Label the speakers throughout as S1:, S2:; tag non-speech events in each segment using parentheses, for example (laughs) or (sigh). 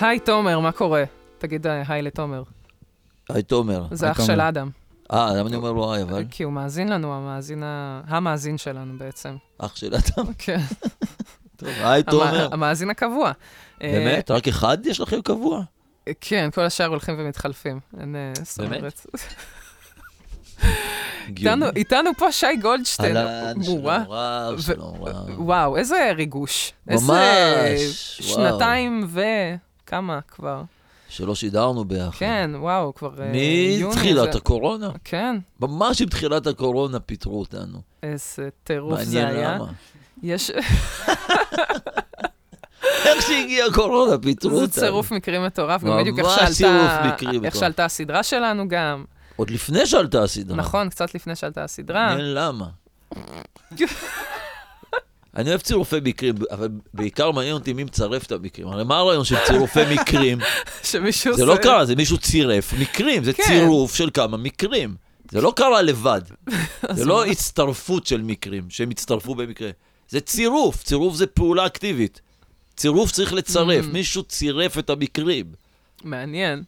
S1: היי תומר, מה קורה? תגיד אה, היי לתומר.
S2: היי תומר.
S1: זה
S3: היי,
S1: אח אוקיי. של
S3: תומר.
S1: אדם.
S2: אה, למה אני אומר לו היי, אבל?
S1: כי הוא מאזין לנו, המאזין ה- המאזין שלנו בעצם.
S2: אח של אדם.
S1: כן,
S2: טוב, היי תומר.
S1: המ- המאזין הקבוע. אה,
S2: באמת? רק אחד יש לכם קבוע?
S1: כן, כל השאר הולכים ומתחלפים. אין, אה, זאת
S2: באמת?
S1: אומרת.
S2: הגיוני.
S1: איתנו- איתנו פה שי גולדשטיין.
S2: אהלן, שלום
S1: מורה.
S2: רב,
S1: ו-
S2: שלום רב.
S1: וואו, איזה ריגוש.
S2: ממש,
S1: איזה
S2: וואו.
S1: שנתיים ו... כמה כבר?
S2: שלא שידרנו ביחד.
S1: כן, וואו, כבר אה, יוני.
S2: מתחילת
S1: זה-
S2: הקורונה.
S1: כן,
S2: ממש עם תחילת הקורונה פיטרו אותנו.
S1: איזה טירוף זה
S2: מעניין
S1: היה.
S2: למה. (laughs)
S1: יש
S2: איך שהגיעה הקורונה פיטרו אותנו.
S1: זה צירוף מקרים מטורף, גם
S2: ממש
S1: בדיוק איך
S2: צירוף
S1: שעלתה,
S2: מקרים
S1: איך
S2: מטורף.
S1: שעלתה הסדרה שלנו גם.
S2: עוד לפני שעלתה הסדרה.
S1: נכון, קצת לפני שעלתה הסדרה.
S2: מעניין למה. אני אוהב צירופי מקרים, אבל בעיקר מעניין אותי מי מצרף את המקרים. הרי מה הרעיון של
S1: (laughs)
S2: צירופי מקרים?
S1: (laughs) שמישהו
S2: זה לא קרה, זה מישהו צירף מקרים, זה
S1: כן.
S2: צירוף של כמה מקרים. זה לא קרה לבד, זה לא הצטרפות של מקרים, שהם הצטרפו במקרה. זה צירוף, צירוף זה פעולה אקטיבית. צירוף צריך לצרף,
S1: Mm.
S2: מישהו צירף
S1: (laughs)
S2: את המקרים.
S1: מעניין.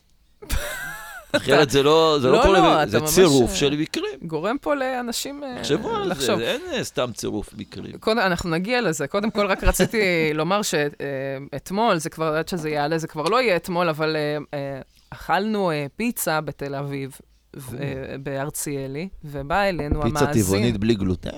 S2: אחרת זה לא, זה
S1: לא,
S2: לא, כל
S1: לא,
S2: המקרים,
S1: אתה
S2: זה
S1: ממש-
S2: צירוף של מקרים.
S1: גורם פה לאנשים אה,
S2: תחשבו על זה,
S1: לחשוב.
S2: זה אין סתם צירוף מקרים.
S1: קודם, אנחנו נגיע לזה. קודם כל, רק רציתי (laughs) לומר שאתמול, זה כבר, עד שזה יעלה, זה כבר לא יהיה אתמול, אבל אה, אה, אכלנו אה, פיצה בתל אביב, ו- אה, בהרציאלי, ובא אלינו המאזין.
S2: פיצה טבעונית בלי גלוטן,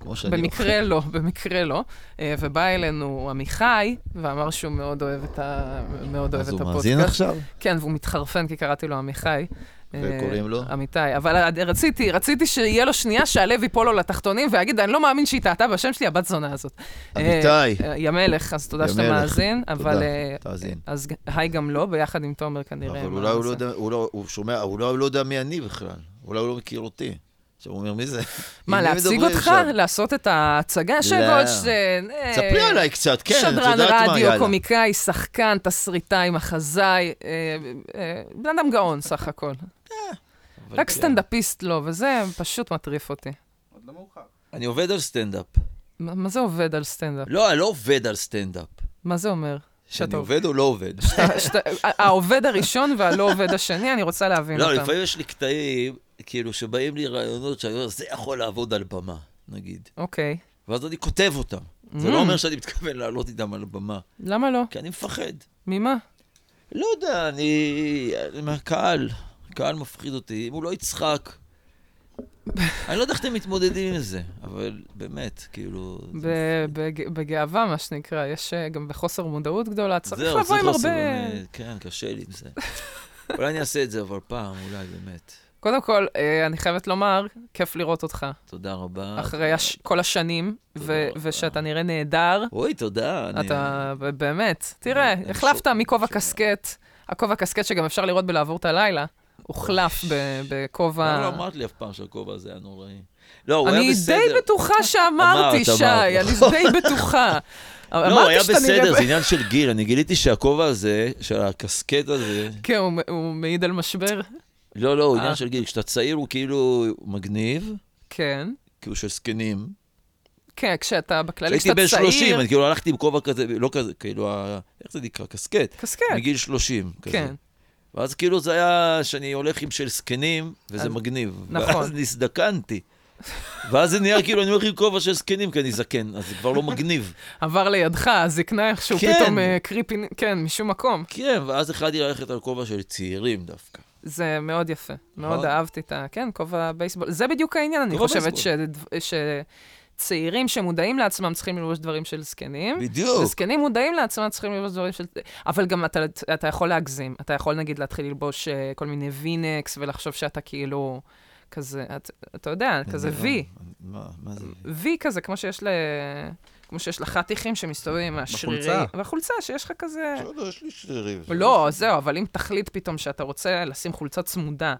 S2: כמו שאני
S1: במקרה לא, במקרה לא. אה, ובא אלינו עמיחי, ואמר שהוא מאוד אוהב את, ה... מאוד לא אוהב
S2: אז
S1: את
S2: הוא
S1: הפודקאסט.
S2: מאזין עכשיו?
S1: כן, והוא מתחרפן כי קראתי לו עמיחי. אה,
S2: וקוראים לו?
S1: אמיתי. אבל עד- רציתי, רציתי שיהיה לו שנייה שהלב ייפול לו לתחתונים ויגיד, אני לא מאמין שהיא טעתה בשם שלי, הבת זונה הזאת.
S2: אמיתי.
S1: אה, אה, ימלך, אז תודה שאתה
S2: ימלך,
S1: מאזין, אבל...
S2: תודה,
S1: אה,
S2: תאזין.
S1: אז ג- היי גם לא, ביחד עם תומר כנראה.
S2: אבל
S1: מה
S2: אולי הוא לא
S1: זה.
S2: יודע, הוא לא- הוא שומע, אולי הוא לא יודע מי אני בכלל. אולי הוא לא מכיר אותי. עכשיו הוא אומר, מי זה?
S1: מה,
S2: עם מי
S1: להציג
S2: מדברים
S1: אותך?
S2: עכשיו?"
S1: לעשות את ההצגה של
S2: לא.
S1: גולדשטיין? אה,
S2: ספרי עליי קצת, כן, את
S1: שדרן
S2: יודעת מה,
S1: רדיו,
S2: יאללה.
S1: קומיקאי, שחקן, תסריטאי, מחזאי, אה, אה, בן אדם גאון סך הכל.
S2: אבל
S1: רק
S2: כן.
S1: סטנדאפיסט לא, וזה פשוט מטריף אותי.
S2: אני עובד על סטנדאפ.
S1: מה מה זה עובד על סטנדאפ?
S2: לא, אני לא עובד על סטנדאפ.
S1: מה זה אומר?
S2: שאני
S1: שאתה-
S2: עובד או לא עובד.
S1: שאתה- שאתה- העובד הראשון והלא עובד השני, אני רוצה להבין
S2: לא,
S1: אותם.
S2: לפעמים יש לי קטעים, כאילו, שבאים לי רעיונות שאני אומר, זה יכול לעבוד על במה, נגיד.
S1: אוקיי. Mm.
S2: ואז אני כותב אותם. זה לא אומר שאני מתכוון לעלות איתם על הבמה,
S1: למה לא?
S2: כי אני מפחד.
S1: ממה?
S2: לא יודע, אני... אני מהקהל. הקהל מפחיד אותי. אם הוא לא יצחק... אני לא יודע איך אתם מתמודדים עם זה, אבל באמת, כאילו... זה
S1: ב- בג- בגאווה, מה שנקרא, יש אה, גם בחוסר מודעות גדולה,
S2: מפחיד.
S1: צריך לבוא
S2: צריך
S1: עם
S2: לעשות,
S1: הרבה...
S2: באמת, כן, קשה לי עם זה. אולי אני אעשה את זה, אבל פעם, אולי, באמת.
S1: קודם כל, אה, אני חייבת לומר, כיף לראות אותך.
S2: תודה רבה.
S1: אחרי הש... כל השנים, ו...
S2: אה, אוקיי. תודה רבה.
S1: ושאתה נראה נהדר.
S2: אוי, תודה. אני-
S1: אתה ב- באמת, תראה,
S2: אני
S1: החלפת
S2: שוב-
S1: מכובע
S2: שוב-
S1: קסקט, הכובע קסקט שגם אפשר לראות בלעבור את הלילה, הוחלף ב-
S2: למה לא
S1: בכובע...
S2: אמרת לי אף פעם שהכובע הזה היה נוראי? לא, הוא היה
S1: אני
S2: בסדר.
S1: די בטוחה שאמרתי,
S2: אמרת,
S1: שי,
S2: אמרת,
S1: אני
S2: נכון. (laughs)
S1: די בטוחה.
S2: לא, הוא היה
S1: אמרתי שאתה
S2: בסדר, זה
S1: נראה...
S2: עניין של גיל. אני גיליתי שהכובע הזה, של הקסקט הזה,
S1: כן, הוא- הוא מעיד על משבר.
S2: לא, לא, הוא
S1: אה.
S2: עניין של גיל. כשאתה צעיר הוא כאילו מגניב,
S1: כן.
S2: כאילו של זקנים.
S1: כן, כשאתה בכללי,
S2: כשהייתי
S1: כשאתה
S2: בן 30,
S1: צעיר...
S2: אני כאילו הלכתי עם כובע כזה, לא כזה, כאילו, ה- איך זה נקרא? קסקט.
S1: קסקט,
S2: מגיל 30, כזה.
S1: כן.
S2: ואז כאילו זה היה שאני הולך עם של זקנים, וזה
S1: אז-
S2: מגניב.
S1: נכון.
S2: ואז נזדקנתי. ואז זה נהיה כאילו, אני הולך עם כובע של זקנים, כי אני זקן, אז זה כבר לא
S1: (laughs)
S2: מגניב.
S1: עבר לידך, הזקנה איכשהו
S2: כן.
S1: פתאום אה, קריפי... כן, משום מקום.
S2: כן, ואז החלטתי ללכת על כובע של צעירים דווקא.
S1: זה מאוד יפה, מאוד
S2: נכון?
S1: אהבתי את ה... כן, כובע בייסבול. זה בדיוק העניין, אני
S2: כובע
S1: חושבת ש- שצעירים שמודעים לעצמם צריכים ללבוש דברים של זקנים.
S2: בדיוק.
S1: וזקנים מודעים לעצמם צריכים ללבוש דברים של... אבל גם אתה, אתה יכול להגזים. אתה יכול נגיד להתחיל ללבוש אה, כל מיני וינקס ולחשוב שאתה כאילו כזה, את, אתה יודע, כזה
S2: נכון.
S1: וי.
S2: מה מה זה?
S1: וי כזה, כמו שיש ל... כמו שיש לחתיכים שמסתובבים עם השרירי...
S3: בחולצה.
S1: בחולצה, שיש לך כזה...
S2: בסדר, לא, יש לי שרירים.
S1: לא, זהו, אבל אם תחליט פתאום שאתה רוצה לשים חולצה צמודה,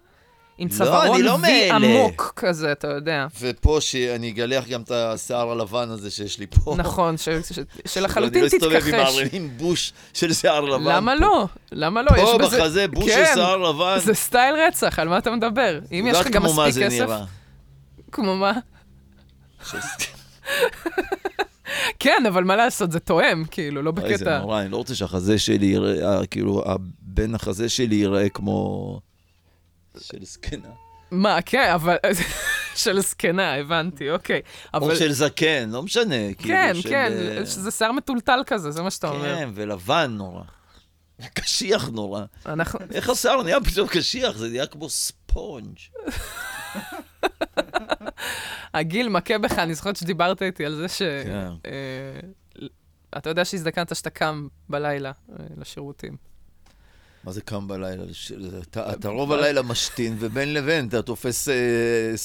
S1: עם
S2: לא,
S1: צווארון
S2: אני לא
S1: וי
S2: מאלה.
S1: עמוק כזה, אתה יודע.
S2: ופה שאני אגלח גם את השיער הלבן הזה שיש לי פה.
S1: נכון, ש-
S2: (laughs)
S1: ש- שלחלוטין
S2: אני לא אסתובב עם
S1: תתכחש.
S2: מערלים בוש של שיער לבן.
S1: למה לא? למה לא?
S2: פה
S1: יש בזה-
S2: בחזה בוש של
S1: כן,
S2: שיער לבן.
S1: זה סטייל רצח, על מה אתה מדבר? אם יש לך גם
S2: יודעת כמו מה
S1: מספיק
S2: זה (laughs)
S1: כסף...
S2: נראה.
S1: כמו מה?
S2: ש-
S1: כן, אבל מה לעשות, זה תואם, כאילו, לא
S2: אוי, זה
S1: בקטע...
S2: נורא, אני לא רוצה שהחזה שלי ייראה, אה, כאילו, בן החזה שלי ייראה כמו... של זקנה.
S1: מה, כן, אבל... (laughs) של זקנה, הבנתי, אוקיי. אבל...
S2: או של זקן, לא משנה. כאילו,
S1: כן,
S2: של,
S1: כן,
S2: אה,
S1: שזה שיער מטולטל כזה, זה מה שאתה אומר.
S2: כן, ולבן נורא. קשיח נורא.
S1: אנחנו...
S2: איך השיער נהיה פתאום קשיח? זה נהיה כמו ספונג'.
S1: הגיל מכה בך, אני זוכרת שדיברת איתי על זה ש...
S2: כן.
S1: אה, אתה יודע שהזדקנת שאתה קם בלילה אה, לשירותים.
S2: מה זה קם בלילה? לש- אתה אתה רוב הלילה משתין, ובין לבין אתה תופס אה,
S1: (laughs)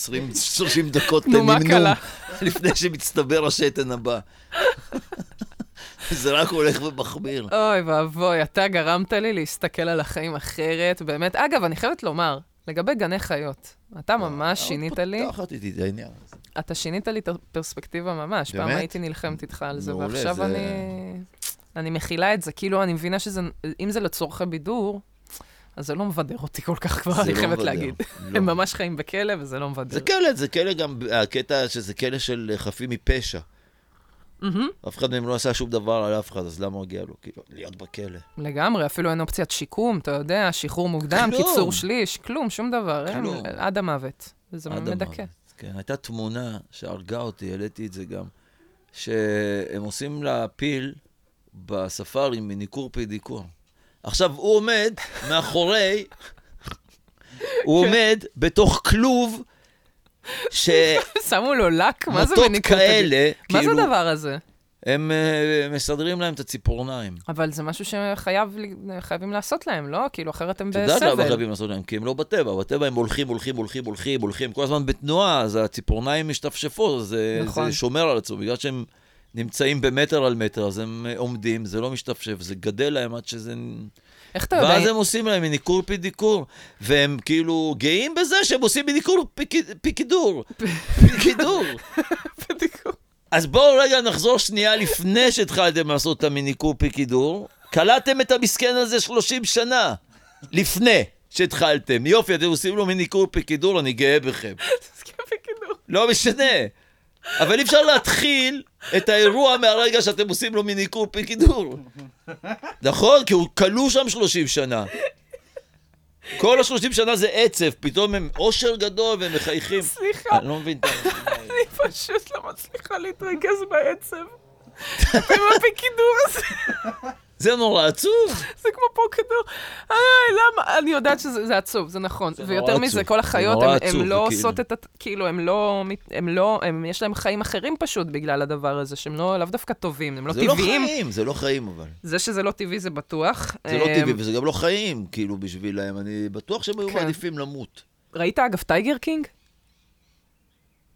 S2: 20-30 דקות
S1: תנומה
S2: נמנום
S1: קלה.
S2: (laughs) לפני שמצטבר השתן הבא. (laughs) זה רק הולך ומחמיר.
S1: אוי ואבוי, אתה גרמת לי להסתכל על החיים אחרת, באמת. אגב, אני חייבת לומר, לגבי גני חיות, אתה ממש שינית לי,
S2: אה, פתחת איתי את
S1: (laughs)
S2: העניין. הזה.
S1: אתה שינית לי את הפרספקטיבה ממש. פעם
S2: באמת?
S1: הייתי נלחמת איתך על זה,
S2: מעולה,
S1: ועכשיו
S2: זה-
S1: אני... אני מכילה את זה, כאילו, אני מבינה שזה, אם זה לצורכי בידור, אז זה לא מבדר אותי כל כך כבר,
S2: זה
S1: אני
S2: לא
S1: חייבת
S2: מבדר.
S1: להגיד.
S2: לא.
S1: הם ממש חיים בכלא, וזה לא מבדר.
S2: זה כן. כלא, זה כלא גם, הקטע שזה כלא של חפים מפשע.
S1: מהמם.
S2: אף אחד מהם לא עשה שום דבר על אף אחד, אז למה מגיע לו? כאילו, להיות בכלא.
S1: לגמרי, אפילו אין אופציית שיקום, אתה יודע, שחרור מוקדם,
S2: כלום.
S1: קיצור שליש, כלום, שום דבר, הם
S2: כלום.
S1: עד המוות. וזה
S2: עד
S1: מדכא.
S2: המוות. כן, הייתה תמונה שהרגה אותי, העליתי את זה גם, שהם עושים לה פיל בספארי מניקור פדיקור. עכשיו, הוא עומד
S1: (laughs)
S2: מאחורי, הוא עומד בתוך כלוב,
S1: (laughs)
S2: שמוטות
S1: שמו לו לק, מה זה בניקוד?
S2: כאלה,
S1: מה זה
S2: כאילו,
S1: הדבר הזה?
S2: הם אה, מסדרים להם את הציפורניים.
S1: אבל זה משהו שחייבים לעשות להם, לא? כאילו, אחרת הם
S2: את יודעת למה
S1: בסבל.
S2: חייבים לעשות להם? כי הם לא בטבע. בטבע הם הולכים, הולכים, הולכים, הולכים, הולכים, כל הזמן בתנועה, אז הציפורניים משתפשפות, אז זה,
S1: נכון.
S2: זה שומר על עצמו. בגלל שהם נמצאים במטר על מטר, אז הם אה, עומדים, זה לא משתפשף, זה גדל להם עד שזה...
S1: איך אתה
S2: ואז
S1: יודע?
S2: הם עושים להם מניקור פידיקור, והם כאילו גאים בזה שהם עושים מניקור פיק- פיקידור. פיקידור. אז בואו רגע נחזור שנייה לפני שהתחלתם לעשות את המיניקור פיקידור. קלטתם את המסכן הזה 30 שנה לפני שהתחלתם. יופי, אתם עושים לו מיניקור פיקידור, אני גאה בכם. לא משנה. אבל אי אפשר להתחיל את האירוע מהרגע שאתם עושים לו מיניקור פיקידור. נכון? כי הוא כלוא שם 30 שנה. כל ה-30 שנה זה עצב, פתאום הם אושר גדול והם מחייכים.
S1: סליחה,
S2: אני לא מבין את ה...
S1: אני פשוט לא מצליחה להתרכז בעצב. עם הפיקידור הזה,
S2: זה נורא עצוב.
S1: זה כמו פוקדור. אה, למה? אני יודעת שזה זה עצוב, זה נכון.
S2: זה
S1: ויותר
S2: נורא
S1: מזה,
S2: עצוב.
S1: כל
S2: זה
S1: החיות,
S2: נורא
S1: הם-
S2: עצוב,
S1: הם לא
S2: וכאילו-
S1: עושות את ה... כאילו, הם לא... מת- הם לא... הם- יש להם חיים אחרים פשוט בגלל הדבר הזה, שהם לא לאו דווקא טובים, הם לא
S2: זה לא
S1: טבעיים.
S2: חיים, זה לא חיים אבל.
S1: זה שזה לא טבעי זה בטוח.
S2: זה לא
S1: אמ,
S2: טבעי וזה גם לא חיים, כאילו, בשבילם. אני בטוח שהם היו
S1: כן.
S2: מעדיפים למות.
S1: ראית אגב טייגר קינג?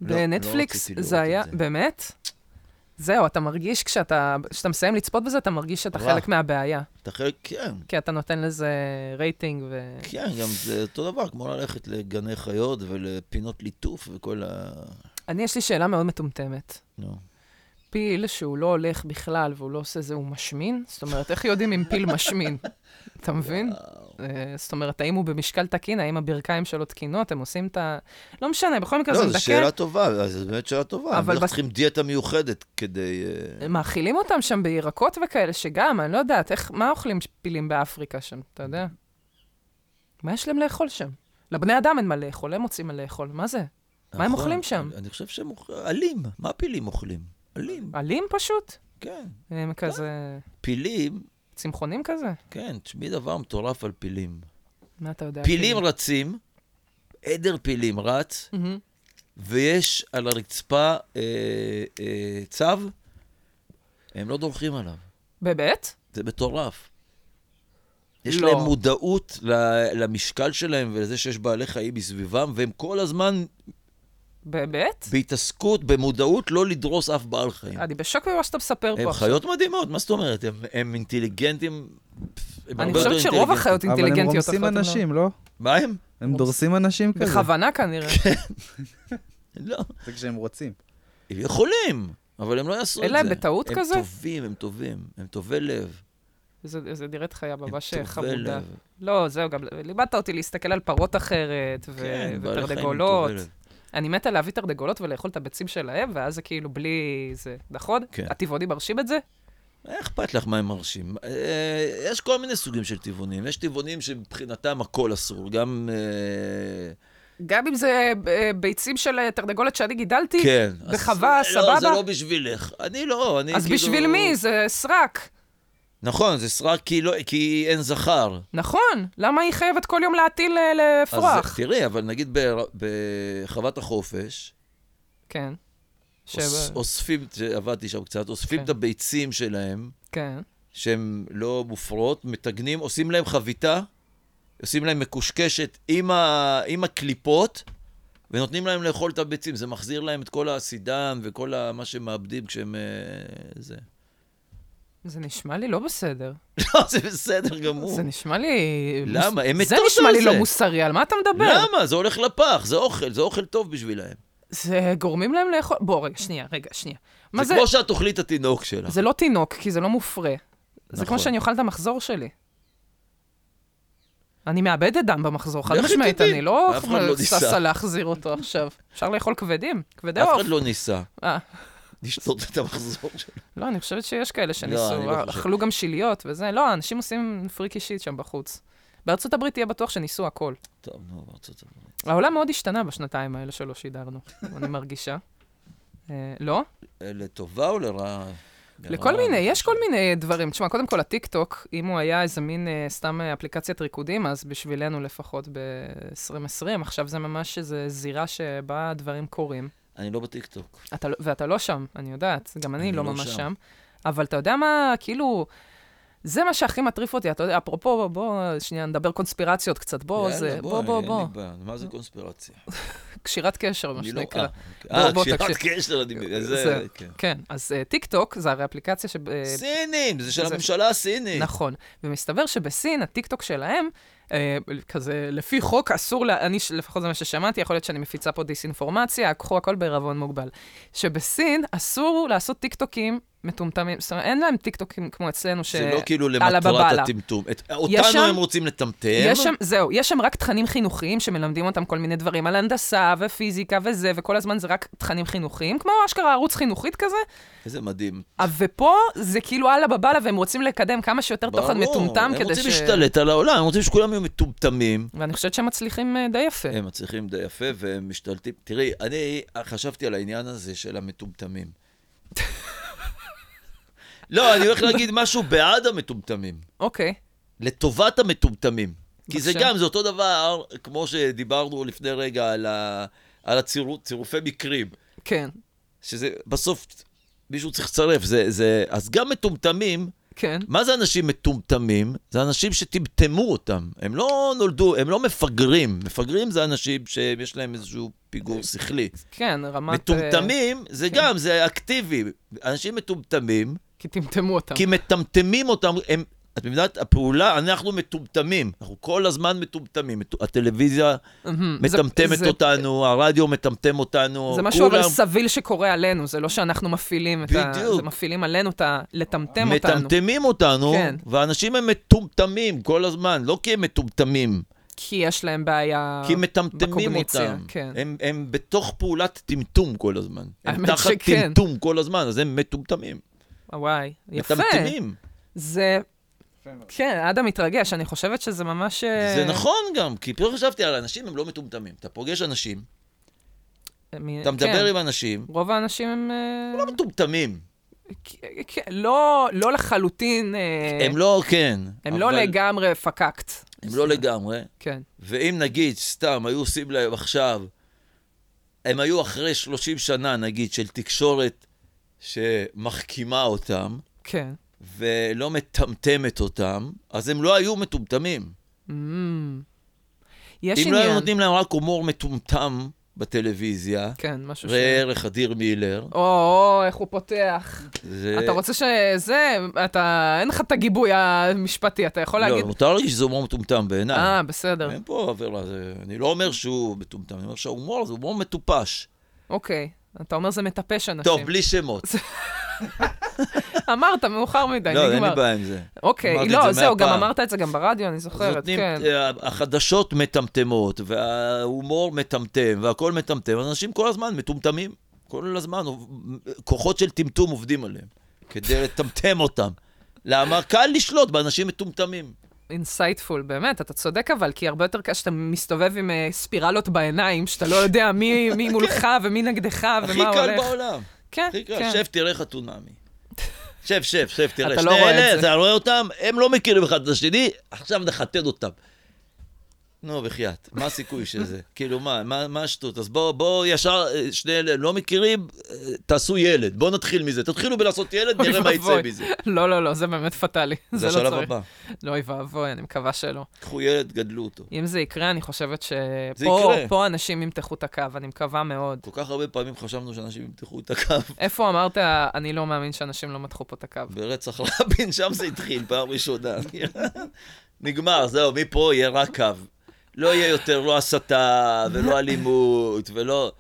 S2: לא, לא
S1: בנטפליקס
S2: רציתי לראות
S1: זה
S2: את
S1: היה,
S2: זה.
S1: באמת? זהו, אתה מרגיש כשאתה, כשאתה מסיים לצפות בזה, אתה מרגיש שאתה
S2: רע.
S1: חלק מהבעיה.
S2: אתה חלק, כן,
S1: כי אתה נותן לזה רייטינג ו...
S2: כן, גם זה אותו דבר, כמו ללכת לגני חיות ולפינות ליטוף וכל ה...
S1: אני, יש לי שאלה מאוד מטומטמת.
S2: נו.
S1: פיל שהוא לא הולך בכלל והוא לא עושה זה, הוא משמין? זאת אומרת, איך יודעים אם פיל
S2: (laughs)
S1: משמין? אתה מבין? אה, זאת אומרת, האם הוא במשקל תקין, האם הברכיים שלו תקינות, הם עושים את ה... לא משנה, בכל מקרה זה
S2: לא,
S1: מדכא.
S2: זו שאלה טובה, אז זו באמת שאלה טובה.
S1: אבל
S2: אבל
S1: בס-
S2: צריכים דיאטה מיוחדת כדי... אה,
S1: הם מאכילים אותם שם בירקות וכאלה, שגם, אני לא יודעת, איך, מה אוכלים פילים באפריקה שם, אתה יודע? מה יש להם לאכול שם? לבני אדם אין מה לאכול, הם מוצאים מה לאכול, מה זה? מה הם
S2: נכון.
S1: אוכלים שם?
S2: אני חושב שהם אוכלים... עלים. מה פילים אוכלים? עלים,
S1: עלים פשוט?
S2: כן.
S1: הם כזה
S2: פילים,
S1: צמחונים כזה?
S2: כן, תשמעי דבר מטורף על פילים.
S1: מה אתה יודע? כאילו.
S2: פילים רצים, עדר פילים רץ,
S1: מהמם.
S2: ויש על הרצפה אה, אה, צו, הם לא דורכים עליו.
S1: באמת?
S2: זה מטורף. יש
S1: לא.
S2: להם מודעות ל- למשקל שלהם ולזה שיש בעלי חיים מסביבם, והם כל הזמן
S1: באמת?
S2: בהתעסקות, במודעות, לא לדרוס אף בעל חיים.
S1: אני לא בשוק ממה שאתה מספר פה
S2: כן. הם
S1: עכשיו.
S2: חיות מדהימות, מה זאת אומרת? הם, הם אינטליגנטים, הם
S1: אני
S2: הרבה יותר
S1: חושבת שרוב
S2: אינטליגנטים.
S1: החיות
S3: אבל הם
S1: אינטליגנטיות.
S3: רומסים
S1: אחרות, לא.
S3: אנשים, כאילו. לא?
S2: מה הם?
S3: הם
S1: רומס-
S3: דורסים אנשים כזה.
S1: בכוונה כנראה.
S2: כן. לא.
S3: זה כשהם רוצים.
S2: הם יכולים, אבל הם לא יעשו את זה.
S1: אין להם בטעות כזה?
S2: הם טובים, הם טובים, הם טובי לב.
S1: זה זה נראית חיה
S2: הם
S1: ממש אה,
S2: טובי
S1: חמודה.
S2: לב.
S1: לא, זהו, גם לימדת אותי להסתכל על פרות אחרת, ו-
S2: כן, בעלי חיים הם טובי
S1: ופרדגולות.
S2: לב.
S1: אני מתה להביא תרנגולות ולאכול את הביצים שלהם, ואז זה כאילו בלי זה, נכון?
S2: כן.
S1: הטבעונים מרשים את זה?
S2: אה, אכפת לך מה הם מרשים? אה, יש כל מיני סוגים של טבעונים. יש טבעונים שמבחינתם הכל אסור. גם... אה,
S1: גם אם זה אה, ביצים של אה, תרנגולת שאני גידלתי?
S2: כן. אז-
S1: בחווה,
S2: לא, זה
S1: סבבה?
S2: לא בשבילך. אני לא, אני
S1: אז
S2: כאילו...
S1: בשביל מי? זה סרק.
S2: נכון, זה סרק כי לא- כי אין זכר.
S1: נכון, למה היא חייבת כל יום להטיל אה,
S2: אז
S1: לפרוח?
S2: תראי, אבל נגיד בר- בחוות החופש,
S1: כן. ש...
S2: אוס- אוספים, עבדתי שם קצת, אוספים
S1: כן.
S2: את הביצים שלהם,
S1: כן.
S2: שהן לא מופרות, מטגנים, עושים להם חביתה, עושים להם מקושקשת עם, ה... עם הקליפות, ונותנים להם לאכול את הביצים. זה מחזיר להם את כל האסידם וכל ה... מה שהם מאבדים כשהם... אה, זה. (laughs)
S1: זה נשמע לי לא בסדר.
S2: לא, זה בסדר גמור.
S1: זה נשמע לי...
S2: למה? הם
S1: זה
S2: מתו
S1: נשמע
S2: על
S1: לי
S2: זה.
S1: לא מוסרי, על מה אתה מדבר?
S2: למה? זה הולך לפח, זה אוכל, זה אוכל טוב בשבילהם.
S1: זה גורמים להם לאכול... בוא, רגע, שנייה, רגע, שנייה. מה
S2: זה
S1: זה?
S2: כמו שאת תאכלי את התינוק שלך.
S1: זה לא תינוק, כי זה לא מופרה. זה
S2: נכון.
S1: כמו שאני אוכל את המחזור שלי. אני מאבדת דם במחזור, חד
S2: לכי
S1: משמעית,
S2: תדעי.
S1: אני לא
S2: אף אחד לא ניסה.
S1: ששה להחזיר אותו עכשיו. אפשר לאכול כבדים, כבדי
S2: אף
S1: עוף.
S2: אחד לא ניסה
S1: אה,
S2: לשתות את המחזור שלו.
S1: לא, אני חושבת שיש כאלה
S2: אני
S1: שניסו, אה,
S2: לא חושב.
S1: אכלו גם שיליות וזה. לא, אנשים עושים פריקי שיט שם בחוץ. בארצות הברית תהיה בטוח שניסו הכל.
S2: טוב, נו, בארצות הברית.
S1: העולם מאוד השתנה בשנתיים האלה שלא שידרנו, אני מרגישה. אה, לא?
S2: אה, לטובה או לרעה?
S1: לכל
S2: לרעה,
S1: מיני,
S2: אני
S1: יש
S2: חושב.
S1: כל מיני דברים. תשמע, קודם כל, הטיקטוק, אם הוא היה איזה מין אה, סתם אה, אפליקציית ריקודים, אז בשבילנו לפחות ב-2020, עכשיו זה ממש איזו זירה שבה הדברים קורים.
S2: אני לא בטיקטוק.
S1: אתה, לא- ואתה לא שם, אני יודעת, גם אני,
S2: אני
S1: לא
S2: לא
S1: ממש
S2: שם.
S1: שם. אבל אתה יודע מה, כאילו, זה מה שהכי מטריף אותי, אתה יודע, אפרופו, בוא, בוא שנייה, נדבר קונספירציות קצת, בוא,
S2: יאללה,
S1: זה, בוא, בוא,
S2: אין
S1: בוא,
S2: לי בעיה. מה זה קונספירציה?
S1: קשירת קשר, מה
S2: אני לא...
S1: שנקרא.
S2: אה,
S1: בוא,
S2: אה,
S1: בוא,
S2: קשירת
S1: תקשיב.
S2: קשר, אני... זה...
S1: זה-
S2: כן.
S1: כן, אז אה, טיק טוק זה הרי אפליקציה ש... אה,
S2: סינים, זה של
S1: זה-
S2: הממשלה הסינית.
S1: נכון. ומסתבר שבסין, הטיקטוק שלהם, אה, כזה, לפי חוק אסור, לה, אני, ש- לפחות זה מה ששמעתי, יכול להיות שאני מפיצה פה דיסאינפורמציה, קחו הכל בעירבון מוגבל. שבסין אסור לעשות טיקטוקים מטומטמים, זאת אומרת, אין להם טיקטוקים כמו אצלנו, ש...
S2: זה לא כאילו
S1: על
S2: למטרת
S1: הבבלה.
S2: הטמטום. את-
S1: יש
S2: אותנו
S1: שם-
S2: הם רוצים לטמטם.
S1: יש שם, זהו, יש שם רק תכנים חינוכיים שמלמדים אותם כל מיני דברים על הנדסה ופיזיקה וזה, וכל הזמן זה רק תכנים חינוכיים, כמו אשכרה ערוץ חינוכית כזה,
S2: איזה מדהים.
S1: אה, ופה זה כאילו אללה בבאללה, והם רוצים לקדם כמה שיותר תוכן
S2: ברור,
S1: מטומטם
S2: הם
S1: כדי ש...
S2: רוצים להשתלט על העולם, הם רוצים שכולם יהיו מטומטמים.
S1: ואני חושבת שהם מצליחים אה, די יפה.
S2: הם מצליחים די יפה והם משתלטים. תראי, אני חשבתי על העניין הזה
S1: (laughs)
S2: של המטומטמים. לא, אני הולך להגיד משהו בעד המטומטמים.
S1: אוקיי.
S2: לטובת המטומטמים. כי זה
S1: בבקשה.
S2: גם, זה אותו דבר, כמו שדיברנו לפני רגע על, ה... על הצירופי הצירופי מקרים,
S1: כן,
S2: שזה בסוף מישהו צריך לצרף, זה, זה... אז גם מטומטמים,
S1: כן.
S2: מה זה אנשים מטומטמים? זה אנשים שטמטמו אותם, הם לא נולדו, הם לא מפגרים, מפגרים זה אנשים שיש להם איזשהו פיגור שכלי.
S1: כן, רמת... אה,
S2: מטומטמים זה גם, זה אקטיבי, אנשים מטומטמים,
S1: כי טמטמו אותם.
S2: כי מטמטמים אותם, הם, את מבינת, הפעולה, אנחנו מטומטמים, אנחנו כל הזמן מטומטמים, מט- הטלוויזיה
S1: מהמם. זה-
S2: מטמטמת
S1: זה-
S2: אותנו, הרדיו מטמטם אותנו,
S1: זה משהו אבל
S2: כולם
S1: סביל שקורה עלינו, זה לא שאנחנו מפעילים את ה...
S2: בדיוק.
S1: זה מפעילים עלינו את ה... לטמטם אותנו.
S2: מטמטמים אותנו,
S1: כן.
S2: ואנשים הם מטומטמים כל הזמן, לא כי הם מטומטמים.
S1: כי יש להם בעיה...
S2: כי מטמטמים
S1: אה, בקוגניציה,
S2: אותם.
S1: כן.
S2: הם, הם בתוך פעולת טמטום כל הזמן. הם
S1: האמת
S2: תחת
S1: שכן.
S2: טמטום כל הזמן, אז הם מטומטמים.
S1: וואי, יפה.
S2: מטמטמים.
S1: זה... כן, אדם מתרגש, אני חושבת שזה ממש... אה,
S2: זה נכון גם, כי פתאום חשבתי על אנשים, הם לא מטומטמים. אתה פוגש אנשים,
S1: מ-
S2: אתה מדבר
S1: כן.
S2: עם אנשים,
S1: רוב האנשים הם... אה,
S2: הם לא מטומטמים.
S1: כ- כ- לא לא לחלוטין... אה,
S2: הם לא, כן.
S1: הם לא
S2: אבל
S1: לגמרי פקקט.
S2: הם לא לגמרי.
S1: כן.
S2: ואם נגיד, סתם, היו עושים להם עכשיו, הם היו אחרי 30 שנה, נגיד, של תקשורת שמחכימה אותם,
S1: כן.
S2: ולא מטמטמת אותם, אז הם לא היו מטומטמים.
S1: Mm. יש
S2: אם
S1: עניין.
S2: לא היו נותנים להם רק הומור מטומטם בטלוויזיה,
S1: כן, משהו ש...
S2: ראה ערך אדיר מילר,
S1: או, או, איך הוא פותח.
S2: זה...
S1: אתה רוצה שזה, אתה, אין לך את הגיבוי המשפטי, אתה יכול
S2: לא, כן.
S1: להגיד...
S2: מותר להגיד שזה הומור מטומטם בעיניי.
S1: אה, בסדר,
S2: אין פה עבירה, זה- אני לא אומר שהוא מטומטם, אני אומר שההומור זה הומור מטופש.
S1: אוקיי. אתה אומר זה מטפש אנשים.
S2: טוב, בלי שמות.
S1: אמרת, מאוחר מדי,
S2: לא, אין לי
S1: נגמר.
S2: בעיה עם זה.
S1: אוקיי,
S2: אמרתי את
S1: לא,
S2: זה
S1: זהו,
S2: מאה
S1: גם
S2: פעם.
S1: אמרת את זה גם ברדיו, אני
S2: אז
S1: זוכרת,
S2: נותנים,
S1: כן.
S2: אה, החדשות מטמטמות, וההומור מטמטם, והכל מטמטם, אז אנשים כל הזמן מטומטמים, כל הזמן, עוב- כוחות של טמטום עובדים עליהם, כדי לטמטם אותם. למה? קל לשלוט באנשים מטומטמים.
S1: אינסייטפול, באמת, אתה צודק אבל, כי הרבה יותר קשה שאתה מסתובב עם אה, ספירלות בעיניים, שאתה לא יודע מי מי מולך ומי נגדך
S2: הכי
S1: ומה
S2: קל
S1: הולך.
S2: בעולם.
S1: כן,
S2: הכי קל.
S1: כן.
S2: שב, תראה חתונמי. שב, שב, שב, תראה.
S1: אתה
S2: שני
S1: לא רואה את
S2: אלה,
S1: זה.
S2: אתה רואה אותם? הם לא מכירים אחד את השני, עכשיו נחתן אותם. נו, בחייאת, מה הסיכוי שזה? (laughs) כאילו, מה, מה, מה השטות? אז בואו בוא ישר, אה, שני אלה לא מכירים, אה, תעשו ילד. בואו נתחיל מזה. תתחילו בלעשות ילד,
S1: אוי
S2: נראה מה יצא
S1: ואבוי.
S2: מזה.
S1: לא, לא, לא, זה באמת פטאלי.
S2: זה
S1: לא
S2: השלב
S1: צריך.
S2: הבא.
S1: לא, אוי ואבוי, אני מקווה שלא.
S2: קחו ילד, גדלו אותו.
S1: אם זה יקרה, אני חושבת
S2: זה
S1: שפה
S2: יקרה.
S1: פה אנשים ימתחו את הקו, אני מקווה מאוד.
S2: כל כך הרבה פעמים חשבנו שאנשים ימתחו את הקו
S1: איפה אמרת, אני לא מאמין שאנשים לא מתחו פה את הקו?
S2: ברצח רבין, שם זה התחיל, פעם ראשונה. (laughs) נגמר, זהו, מפה יהיה רק קו. לא יהיה יותר לא הסתה, ולא אלימות, ולא...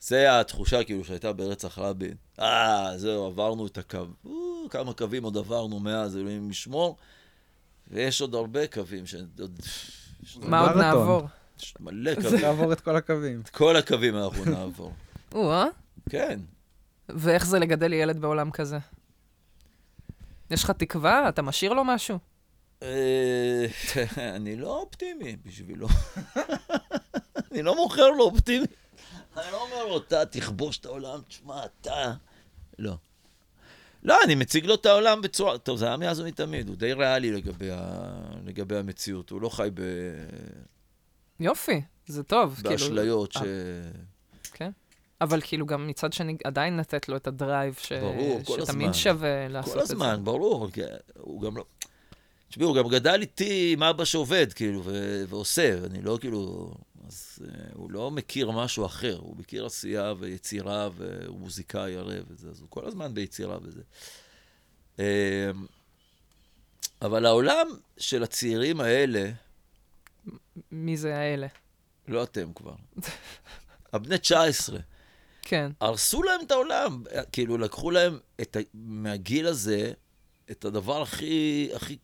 S2: זה התחושה כאילו שהייתה ברצח רבין. אה, זהו, עברנו את הקו. או, כמה קווים עוד עברנו מאז, אלוהים ישמור. ויש עוד הרבה קווים ש... עוד- יש
S1: מה עוד
S3: מרתון.
S1: נעבור?
S2: יש מלא קווים.
S3: צריך לעבור את כל הקווים.
S2: את כל הקווים אנחנו נעבור.
S1: או-אה,
S2: כן.
S1: אה? ואיך זה לגדל ילד בעולם כזה? יש לך תקווה? אתה משאיר לו משהו?
S2: אה, (laughs) אני לא אופטימי בשבילו. (laughs) אני לא מוכר לו אופטימי. אני לא אומר לו, אתה תכבוש את העולם, תשמע, אתה... לא. לא, אני מציג לו את העולם בצורה... טוב, זה היה מאז ומתמיד, הוא די ריאלי לגבי, ה... לגבי המציאות. הוא לא חי ב...
S1: יופי, זה טוב. כאילו-
S2: באשליות ש...
S1: אה, כן. אבל כאילו גם מצד שני, עדיין לתת לו את הדרייב, ש...
S2: ברור, כל הזמן.
S1: שתמיד שווה לעשות
S2: כל
S1: את זה.
S2: הזמן, ברור. כי הוא גם לא... תשמעי, הוא גם גדל איתי עם אבא שעובד, כאילו, ו- ועושה, אני לא כאילו... אז אה, הוא לא מכיר משהו אחר, הוא מכיר עשייה ויצירה, והוא מוזיקאי הרי וזה, אז הוא כל הזמן ביצירה וזה. אה, אבל העולם של הצעירים האלה,
S1: מי זה האלה?
S2: לא אתם
S1: (laughs)
S2: כבר, הבני 19,
S1: כן.
S2: הרסו להם את העולם. כאילו, לקחו להם את ה... מהגיל הזה, את הדבר הכי... הכי...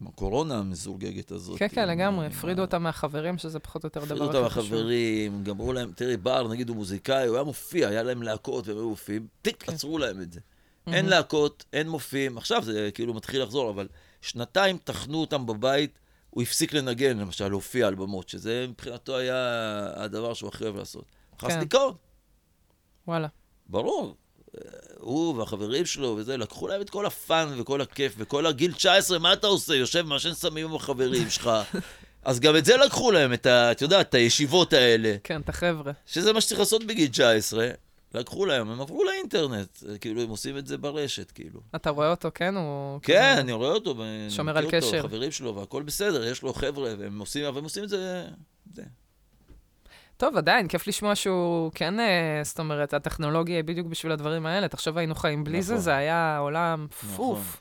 S2: עם הקורונה המזורגגת הזאת.
S1: כן, כן,
S2: עם-
S1: לגמרי.
S2: עם
S1: הפרידו
S2: ה-
S1: אותם מהחברים, שזה פחות או יותר
S2: הפרידו
S1: הדבר
S2: אותם
S1: הכי חשוב.
S2: מהחברים, גם אמרו להם, תראי, בר, נגיד הוא מוזיקאי, הוא היה מופיע, היה להם להקות והם היו מופיעים, טיק,
S1: כן.
S2: עצרו להם את זה.
S1: מהחברים.
S2: אין להקות, אין מופיעים, עכשיו זה כאילו מתחיל לחזור, אבל שנתיים טחנו אותם בבית, הוא הפסיק לנגן, למשל, להופיע על במות, שזה מבחינתו היה הדבר שהוא הכי אוהב לעשות. חס
S1: כן.
S2: דיכאון.
S1: וואלה.
S2: ברור. אה, הוא והחברים שלו וזה, לקחו להם את כל הפאן וכל הכיף וכל הגיל 19, מה אתה עושה? יושב מעשן סמים עם
S1: (laughs)
S2: החברים שלך. אז גם את זה לקחו להם, את ה... את יודעת, את הישיבות האלה,
S1: כן, את החבר'ה.
S2: שזה מה שצריך לעשות בגיל 19, לקחו להם, הם עברו לאינטרנט, אה, כאילו, הם עושים את זה ברשת, כאילו.
S1: אתה רואה אותו, כן? הוא...
S2: כן,
S1: כזה-
S2: אני רואה אותו, ואני
S1: שומר
S2: מכיר
S1: על
S2: אותו,
S1: קשר.
S2: חברים שלו, והכל בסדר, יש לו חבר'ה, והם עושים, אבל הם עושים את זה... זה.
S1: טוב, עדיין, כיף לשמוע שהוא כן, אה, זאת אומרת, הטכנולוגיה היא בדיוק בשביל הדברים האלה. תחשוב, היינו חיים בלי זה,
S2: נכון.
S1: זה היה עולם
S2: נכון.
S1: פוף.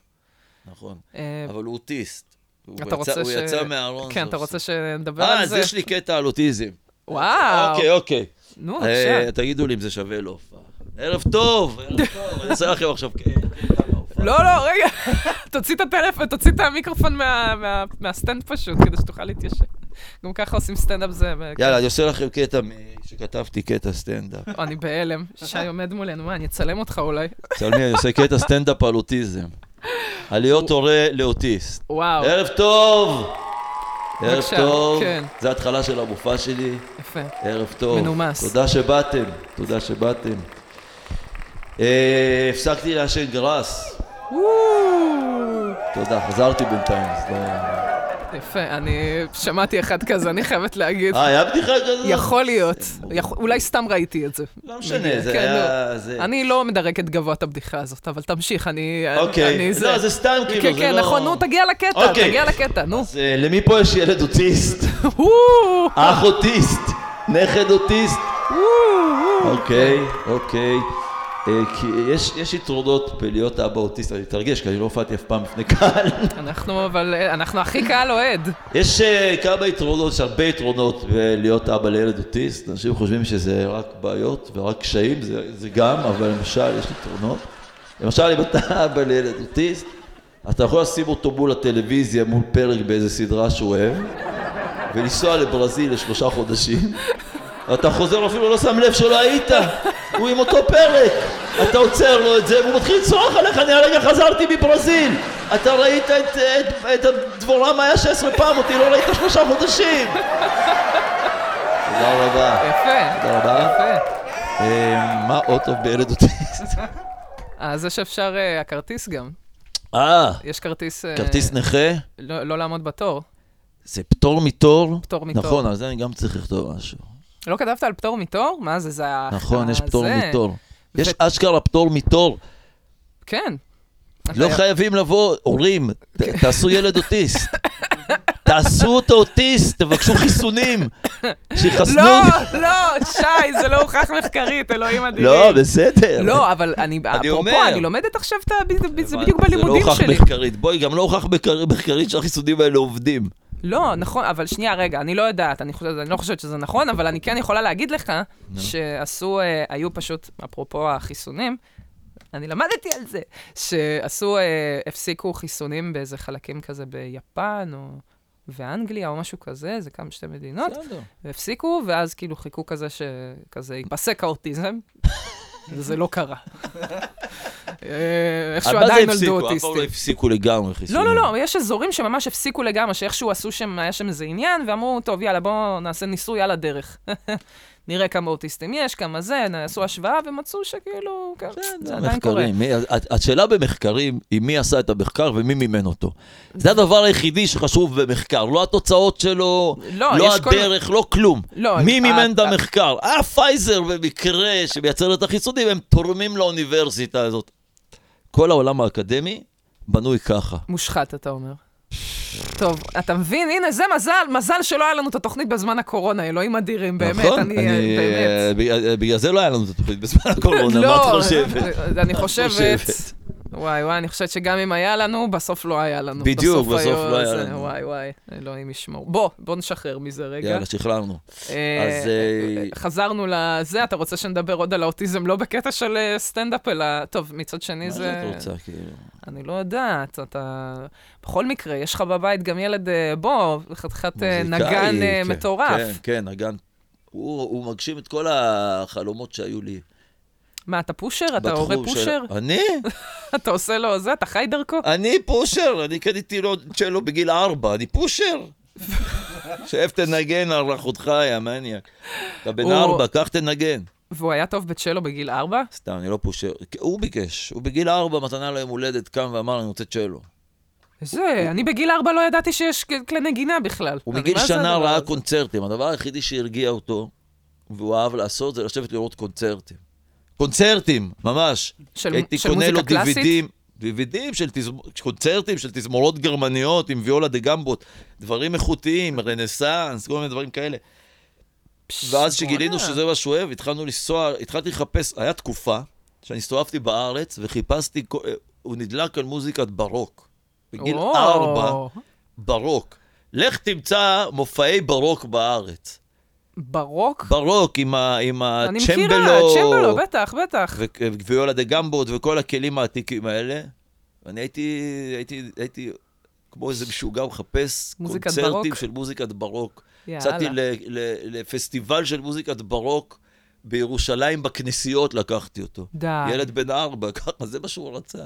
S2: נכון.
S1: אה,
S2: אבל הוא אוטיסט. הוא
S1: אתה
S2: יצא-
S1: רוצה
S2: הוא
S1: ש-
S2: יצא מהארון.
S1: כן,
S2: סוף
S1: אתה רוצה
S2: סוף.
S1: שנדבר
S2: אה,
S1: על
S2: אז
S1: זה? אה,
S2: יש לי קטע על אוטיזם.
S1: וואו.
S2: אוקיי, אוקיי.
S1: נו,
S2: אה,
S1: בבקשה.
S2: תגידו לי אם זה שווה לו הופעה. ערב טוב, ערב
S1: (laughs)
S2: טוב, אני אעשה לכם עכשיו קטע מההופעה.
S1: לא, לא, רגע, (laughs) תוציא את הטלפון, תוציא את המיקרופון מה- מה- מהסטנד פשוט, כדי שתוכל להתיישב. גם ככה עושים סטנדאפ זה. ו-
S2: יאללה, אני עושה לכם קטע מ- שכתבתי, קטע סטנדאפ.
S1: או, אני בהלם. שי עומד מולנו, מה, אני אצלם אותך אולי?
S2: צלמי, אני עושה קטע סטנדאפ על אוטיזם. על להיות הורה לאוטיסט.
S1: וואו,
S2: ערב טוב! ערב
S1: בבקשה,
S2: טוב.
S1: כן.
S2: זה ההתחלה של המופע שלי.
S1: יפה.
S2: ערב טוב.
S1: מנומס.
S2: תודה שבאתם, תודה שבאתם. אה, הפסקתי לעשן גראס. תודה, חזרתי בינתיים. אז לא-
S1: יפה, אני שמעתי אחד כזה, אני חייבת להגיד.
S2: אה, היה בדיחה כזאת?
S1: יכול להיות. יכ- אולי סתם ראיתי את זה.
S2: לא משנה, זה
S1: כן,
S2: היה... זה-
S1: אני לא מדרקת גבוה את הבדיחה הזאת, אבל תמשיך, אני...
S2: אוקיי.
S1: אני
S2: לא, זה סתם כאילו,
S1: כן,
S2: זה
S1: כן,
S2: לא-
S1: נכון, נו, תגיע לקטע,
S2: אוקיי.
S1: תגיע לקטע, נו.
S2: אז אה, למי פה יש ילד אוטיסט?
S1: (laughs) וואו,
S2: אח אוטיסט? נכד אוטיסט? אוקיי, אוקיי. אה, כי יש, יש יתרונות בלהיות אבא אוטיסט, אני מתרגש, כי אני לא הופעתי אף פעם בפני קהל.
S1: אנחנו, אבל, אה, אנחנו הכי קהל אוהד.
S2: יש אה, כמה יתרונות, יש הרבה יתרונות בלהיות אבא לילד אוטיסט. אנשים חושבים שזה רק בעיות ורק קשיים, זה, זה גם, אבל למשל, יש יתרונות. למשל, אם אתה (laughs) אבא לילד אוטיסט, אתה יכול לשים אותו מול הטלוויזיה, מול פרק באיזה סדרה שהוא אוהב, ולנסוע לברזיל לשלושה חודשים, ואתה חוזר, אפילו לא שם לב שלא היית, הוא עם אותו פרק. אתה עוצר לו את זה, והוא מתחיל לצרוח עליך, אני הרגע חזרתי מברזיל. אתה ראית את, את, את הדבורה מאיה 16 פעם, אותי לא ראית שלושה חודשים. תודה רבה.
S1: יפה,
S2: תודה רבה.
S1: יפה.
S2: אה, מה עוד טוב בילד אוטיסט?
S1: אה, זה שאפשר, אה, הכרטיס גם.
S2: אה,
S1: יש כרטיס... אה,
S2: כרטיס נכה?
S1: לא לא לעמוד בתור.
S2: זה פטור מתור?
S1: פטור מתור.
S2: נכון, על זה אני גם צריך לכתוב משהו.
S1: לא כתבת על פטור מתור? מה זה, זה ה...
S2: נכון, יש פטור
S1: אה, זה-
S2: מתור. יש
S1: ו-
S2: אשכרה פטור מתור.
S1: כן. אוקיי.
S2: לא
S1: אתה-
S2: חייבים לבוא, הורים, ת- תעשו ילד אוטיסט. תעשו אותו אוטיסט, תבקשו חיסונים. שיחסנו.
S1: לא, לא, שי, זה לא הוכח מחקרית, אלוהים אדירים.
S2: לא, בסדר.
S1: לא, אבל אני, אפרופו,
S2: אומר.
S1: אני לומדת עכשיו את ה... ב- זה
S2: אבל
S1: בדיוק בלימודים
S2: זה לא הוכח
S1: שלי.
S2: מחקרית. בואי, גם לא הוכח מחקר- מחקרית שהחיסונים האלה עובדים.
S1: לא, נכון, אבל שנייה, רגע, אני לא יודעת, אני, חושבת, אני לא חושבת שזה נכון, אבל אני כן יכולה להגיד לך שעשו, אה, היו פשוט, אפרופו החיסונים, אני למדתי על זה, שעשו, אה, הפסיקו חיסונים באיזה חלקים כזה ביפן, או... ואנגליה או משהו כזה, זה כמה שתי מדינות, והפסיקו, ואז כאילו חיכו כזה שכזה ייפסק
S2: (laughs)
S1: האוטיזם, וזה לא קרה. אה, איכשהו
S2: אבל מה זה
S1: עדיין
S2: הפסיקו?
S1: נולדו
S2: אף פעם
S1: אוטיסטים.
S2: לא הפסיקו לגמרי חיסונים.
S1: לא, לא, לא, יש אזורים שממש הפסיקו לגמרי, שאיכשהו עשו שם, היה שם איזה עניין, ואמרו, טוב, יאללה, בואו נעשה ניסוי על הדרך. (laughs) נראה כמה אוטיסטים יש, כמה זה, נ- עשו השוואה ומצאו שכאילו, כן, זה עדיין קורה.
S2: מחקרים. מי- הת- השאלה במחקרים היא מי עשה את המחקר ומי מימן אותו. זה הדבר היחידי שחשוב במחקר, לא התוצאות שלו,
S1: לא,
S2: לא
S1: יש כל-
S2: הדרך, לא כלום.
S1: לא,
S2: מי מימן
S1: ה-
S2: את המחקר? אה, פייזר במקרה שמייצר את החיסונים, הם תורמים לאוניברסיטה הזאת. כל העולם האקדמי בנוי ככה.
S1: מושחת, אתה אומר. טוב, אתה מבין? הנה, זה מזל, מזל שלא היה לנו את התוכנית בזמן הקורונה, אלוהים אדירים, באמת,
S2: נכון?
S1: אני, אה,
S2: אה,
S1: באמת.
S2: בגלל- בגלל זה לא היה לנו את התוכנית בזמן
S1: (laughs)
S2: הקורונה, מה את
S1: לא,
S2: חושבת?
S1: אני
S2: מה את
S1: חושבת...
S2: חושבת?
S1: וואי, וואי, אני חושבת שגם אם היה לנו, בסוף לא היה לנו.
S2: בדיוק, בסוף
S1: היו
S2: לא היה
S1: זה,
S2: לנו.
S1: וואי, וואי, אלוהים ישמור. בוא, בוא נשחרר מזה רגע.
S2: יאללה, שחררנו.
S1: אה,
S2: אז, אה,
S1: חזרנו לזה, אתה רוצה שנדבר עוד על האוטיזם, לא בקטע של אה, סטנדאפ, אלא... טוב, מצד שני
S2: מה
S1: זה...
S2: שאת רוצה, כאילו?
S1: אני לא יודעת, אתה... בכל מקרה, יש לך בבית גם ילד, אה, בוא, חתיכת אה,
S2: מוזיקאי,
S1: נגן אה,
S2: כן,
S1: מטורף.
S2: כן, כן, נגן. הוא, הוא מגשים את כל החלומות שהיו לי.
S1: מה, אתה פושר? אתה
S2: בתחום
S1: הורה
S2: של- אה.
S1: פושר?
S2: אני?
S1: אתה עושה לו זה? אתה חי דרכו?
S2: אני פושר, אני קניתי לו צ'לו בגיל ארבע, אני פושר. שב תנגן על אחותך, יא מניאק. אתה בן
S1: הוא-
S2: ארבע, קח תנגן.
S1: והוא היה טוב בצ'לו בגיל ארבע?
S2: סתם, אני לא פושר. הוא ביקש, הוא בגיל ארבע, מתנה ליום הולדת, קם ואמר, אני רוצה צ'לו.
S1: זה, אני בגיל ארבע לא ידעתי שיש כ- כלי נגינה בכלל.
S2: הוא
S1: אני-
S2: מגיל
S1: מה זה
S2: שנה
S1: הדבר
S2: ראה
S1: הזה?
S2: קונצרטים. הדבר היחידי שהרגיע אותו, והוא אהב לעשות, זה לשבת לראות קונצרטים. קונצרטים, ממש.
S1: של-
S2: הייתי
S1: של
S2: קונה לו
S1: מוזיקה קלאסית?
S2: דיווידים, דיווידים של תזמ... קונצרטים של תזמורות גרמניות עם ויולה דה גמבוט, דברים איכותיים, רנסאנס, כל מיני דברים כאלה.
S1: פש,
S2: ואז שגילינו
S1: בואנה.
S2: שזה מה שהוא אוהב, התחלנו לנסוע, התחלתי לחפש, היה תקופה שאני הסתובבתי בארץ וחיפשתי, כל- הוא נדלק על מוזיקת ברוק. בגיל
S1: או.
S2: ארבע, ברוק. לך תמצא מופעי ברוק בארץ.
S1: ברוק?
S2: ברוק עם ה- עם
S1: אני מכירה, צ'מבלו,
S2: הצ'מבלו,
S1: בטח, בטח.
S2: ו- וויולה דה גמבוט וכל הכלים העתיקים האלה. אני הייתי, הייתי, הייתי כמו איזה משוגע מחפש
S1: מוזיקת
S2: קונצרטים
S1: ברוק?
S2: של מוזיקת ברוק.
S1: יאללה.
S2: יצאתי ל- ל- לפסטיבל של מוזיקת ברוק בירושלים בכנסיות, לקחתי אותו.
S1: די.
S2: ילד בן ארבע, ככה, זה מה שהוא רצה.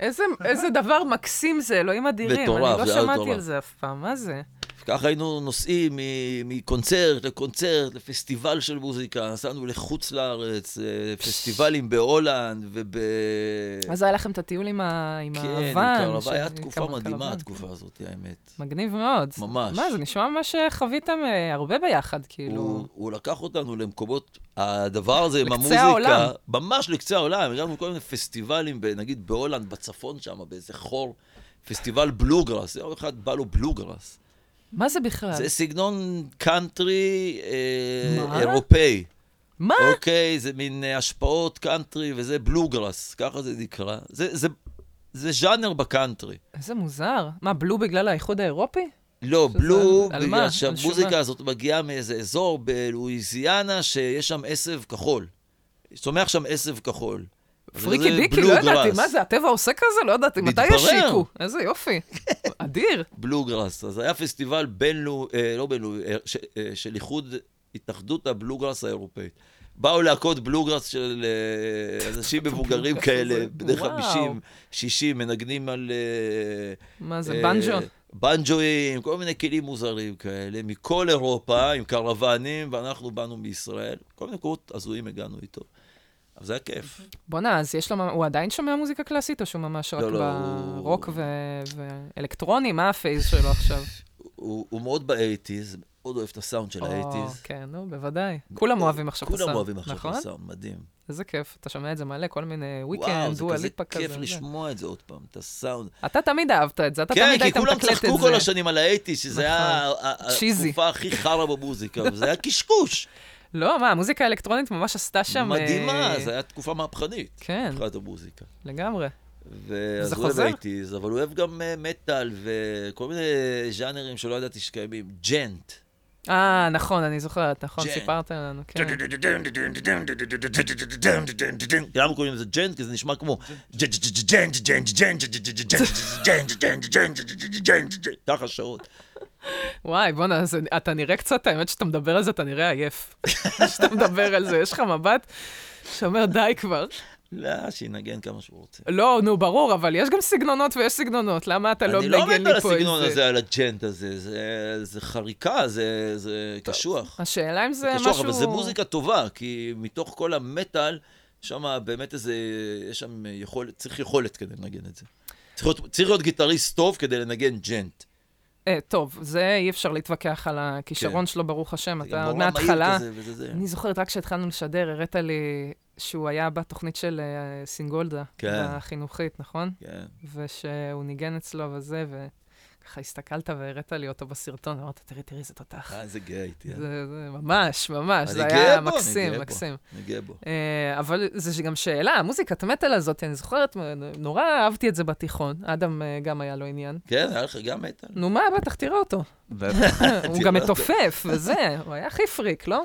S1: איזה, איזה דבר מקסים זה, אלוהים אדירים.
S2: מטורף,
S1: אני
S2: זה
S1: לא
S2: היה
S1: שמעתי
S2: מטורף.
S1: על זה אף פעם, מה זה?
S2: ככה היינו נוסעים מ- מקונצרט לקונצרט, לפסטיבל של מוזיקה, נסענו לחוץ לארץ, אה, פסטיבלים בהולנד וב...
S1: אז היה לכם את הטיול עם, ה... עם
S2: כן, עם
S1: האבן.
S2: קרוון,
S1: ש-
S2: היה תקופה
S1: קרוון,
S2: מדהימה,
S1: קרוון.
S2: התקופה הזאת, האמת.
S1: מגניב מאוד.
S2: ממש.
S1: מה, זה נשמע ממש שחוויתם אה, הרבה ביחד, כאילו.
S2: הוא, הוא לקח אותנו למקומות, הדבר הזה עם
S1: לקצה
S2: המוזיקה,
S1: העולם.
S2: ממש לקצה העולם, הגענו לכל מיני פסטיבלים, ב- נגיד בהולנד, בצפון שם, באיזה חור, פסטיבל בלוגרס, יום אחד בא לו בלוגרס.
S1: מה זה בכלל?
S2: זה סגנון קאנטרי אה,
S1: מה?
S2: אירופאי.
S1: מה?
S2: אוקיי, זה מין אה, השפעות קאנטרי וזה בלוגרס, ככה זה נקרא. זה, זה, זה ז'אנר בקאנטרי.
S1: איזה מוזר. מה, בלו בגלל האיחוד האירופי?
S2: לא,
S1: שזה-
S2: בלו,
S1: על מה?
S2: בגלל
S1: על
S2: שהמוזיקה
S1: שמה?
S2: הזאת מגיעה מאיזה אזור בלואיזיאנה שיש שם עשב כחול. צומח שם עשב כחול.
S1: פריקי
S2: זה
S1: דיקי, לא ידעתי,
S2: בלוגראס.
S1: מה זה, הטבע עושה כזה? לא ידעתי, מתי
S2: מתברר.
S1: ישיקו? איזה
S2: (laughs)
S1: יופי. אדיר.
S2: בלוגראס. אז היה פסטיבל בינלאומי, אה, לא בינלאומי, אה, ש- אה, של איחוד, התאחדות הבלוגראס האירופאית. באו להקות בלוגראס של אה, אנשים מבוגרים
S1: בלוגראס
S2: כאלה,
S1: הזה,
S2: בני
S1: וואו.
S2: 50, 60, מנגנים על... אה,
S1: מה זה,
S2: אה,
S1: בנג'ו?
S2: בנג'ואים, כל מיני כלים מוזרים כאלה, מכל אירופה, עם קרוונים, ואנחנו באנו מישראל. כל מיני מקומות הזויים הגענו איתו. אבל זה היה כיף.
S1: בואנה, אז יש לו... ממ- הוא עדיין שומע מוזיקה קלאסית, או שהוא ממש רק
S2: לא, לא, הוא-
S1: ברוק ו- ואלקטרוני? מה הפייז שלו עכשיו?
S2: הוא, הוא מאוד באייטיז, מאוד אוהב את הסאונד (laughs) של
S1: או,
S2: האייטיז.
S1: כן, נו, בוודאי. כולם אוהבים עכשיו את הסאונד.
S2: כולם אוהבים עכשיו
S1: נכון?
S2: את הסאונד, מדהים.
S1: איזה כיף, אתה שומע את זה מלא, כל מיני
S2: וואו,
S1: וויקנד,
S2: זה
S1: דואה
S2: כזה
S1: ליפה כזה.
S2: כיף
S1: זה.
S2: לשמוע את זה עוד פעם, את הסאונד.
S1: אתה תמיד אהבת את זה, אתה
S2: כן,
S1: תמיד
S2: כי
S1: היית
S2: כולם
S1: מתקלט את זה.
S2: צחקו כל השנים על האייטיז, שזה היה ה- ה-
S1: צ'יזי.
S2: התקופה הכי חרא במוזיקה, וזה היה קשקוש.
S1: לא, מה, המוזיקה האלקטרונית ממש עשתה שם...
S2: מדהימה, נכון.
S1: אה,
S2: זו הייתה תקופה מהפכנית.
S1: כן,
S2: מבחינת המוזיקה.
S1: לגמרי.
S2: ואז
S1: זה
S2: הוא אוהב
S1: חוזר?
S2: אייטיז, אבל הוא אוהב גם אה, מטאל וכל מיני ז'אנרים שלא ידעתי שקיימים. ג'נט.
S1: אה, נכון, אני זוכרת, נכון,
S2: ג'ן.
S1: סיפרת לנו, כן.
S2: למה קוראים לזה ג'נט? כי זה נשמע כמו... ככה שעות.
S1: וואי, בואנה, זה- אתה נראה קצת, האמת שאתה מדבר על זה, אתה נראה עייף. (laughs) כשאתה מדבר על זה, יש לך מבט שאומר די כבר.
S2: לא, שינגן כמה שהוא רוצה.
S1: לא, נו, ברור, אבל יש גם סגנונות ויש סגנונות, למה אתה לא
S2: אני לא
S1: מנגן
S2: מת
S1: לי פה
S2: על
S1: איזה...
S2: הסגנון הזה, על הג'נט הזה. זה- זה חריקה, זה- זה קשוח.
S1: השאלה אם זה
S2: זה
S1: משהו...
S2: קשוח, אבל זה מוזיקה טובה, כי מתוך כל המטאל, שם באמת איזה, יש שם יכולת, צריך יכולת כדי לנגן את זה. צריך להיות, צריך להיות גיטריסט טוב כדי לנגן ג'נט.
S1: אה, טוב, זה אי אפשר להתווכח על הכישרון
S2: כן.
S1: שלו, ברוך השם,
S2: זה גם
S1: אתה
S2: נורא מהיר
S1: מההתחלה...
S2: כזה כן. וזה זה.
S1: אני זוכרת רק כשהתחלנו לשדר, הראת לי שהוא היה בתוכנית של אה, סינגולדה,
S2: כן.
S1: החינוכית, נכון?
S2: כן.
S1: ושהוא ניגן אצלו וזה, וככה הסתכלת והראית לי אותו בסרטון, אמרת, תראי, תראי, זה תותח.
S2: אה, איזה גאה הייתי. אה.
S1: זה זה ממש, ממש,
S2: אני
S1: זה
S2: גאה
S1: היה
S2: בו, אני
S1: מקסים,
S2: גאה בו.
S1: מקסים.
S2: אני גאה בו.
S1: אה, אבל זה גם שאלה, המוזיקת מטאל הזאת, אני זוכרת, נורא אהבתי את זה בתיכון. אדם אה, גם היה לו עניין.
S2: כן, היה לך גם מטאל.
S1: נו מה, בטח, תראה
S2: (laughs)
S1: אותו. הוא גם מתופף, וזה, הוא היה הכי פריק, לא?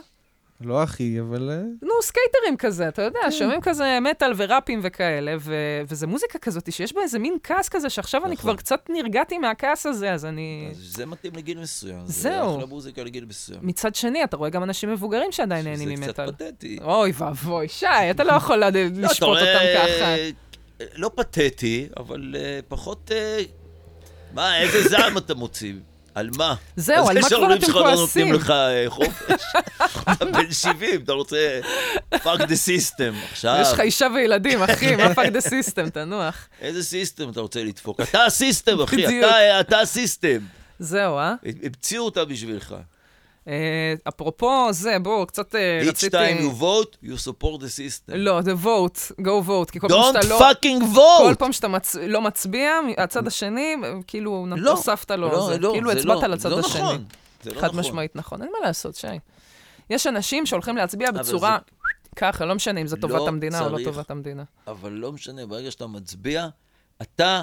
S3: לא אחי, אבל... אה,
S1: נו, סקייטרים כזה, אתה
S2: כן.
S1: יודע, שומעים כזה מטאל וראפים וכאלה, ו- וזה מוזיקה כזאת שיש בה איזה מין כעס כזה, שעכשיו אני
S2: נכון.
S1: כבר קצת נרגעתי מהכעס הזה, אז אני...
S2: אז זה מתאים לגיל מסוים.
S1: זהו.
S2: זה אחלה מוזיקה לגיל מסוים.
S1: מצד שני, אתה רואה גם אנשים מבוגרים שעדיין
S2: שזה
S1: נהנים
S2: קצת
S1: ממטאל.
S2: פתטי.
S1: אוי ואבוי, שי, אתה לא יכול לד-
S2: לא, אתה
S1: לשפוט
S2: רואה,
S1: אותם ככה.
S2: אה, לא פתטי, אבל אה, פחות... אה, מה, איזה זעם אתה מוציא? על מה?
S1: זהו, על מה כבר אתם
S2: אז יש שלך לא
S1: כועסים?
S2: נותנים לך אה, חופש. אתה בן 70, אתה רוצה... fuck the system.
S1: יש
S2: עכשיו,
S1: לך אישה וילדים, אחי, מה פאק דה סיסטם, תנוח.
S2: איזה סיסטם אתה רוצה לדפוק? אתה הסיסטם, אחי,
S1: בדיוק.
S2: אתה- אה, אתה הסיסטם.
S1: זהו, אה?
S2: המציאו אותה בשבילך.
S1: אה, אפרופו זה, בואו, קצת אה,
S2: Each
S1: רציתי...
S2: time you vote, you support the system.
S1: לא, זה vote, go vote, כי כל פעם
S2: Don't
S1: שאתה לא...
S2: fucking
S1: כל
S2: vote! Mm.
S1: פעם שאתה מצ... לא מצביע, הצד השני, כאילו, נ-
S2: לא,
S1: הוספת לו,
S2: לא,
S1: זה,
S2: לא,
S1: כאילו
S2: זה
S1: הצבעת
S2: לא-
S1: על הצד
S2: זה לא
S1: השני.
S2: נכון. זה לא
S1: חד
S2: נכון.
S1: משמעית נכון, אין מה לעשות, שי. יש אנשים שהולכים להצביע
S2: אבל
S1: בצורה ככה, לא משנה אם זה
S2: לא
S1: טובת המדינה או לא
S2: צריך.
S1: טובת המדינה.
S2: אבל לא משנה, ברגע שאתה מצביע, אתה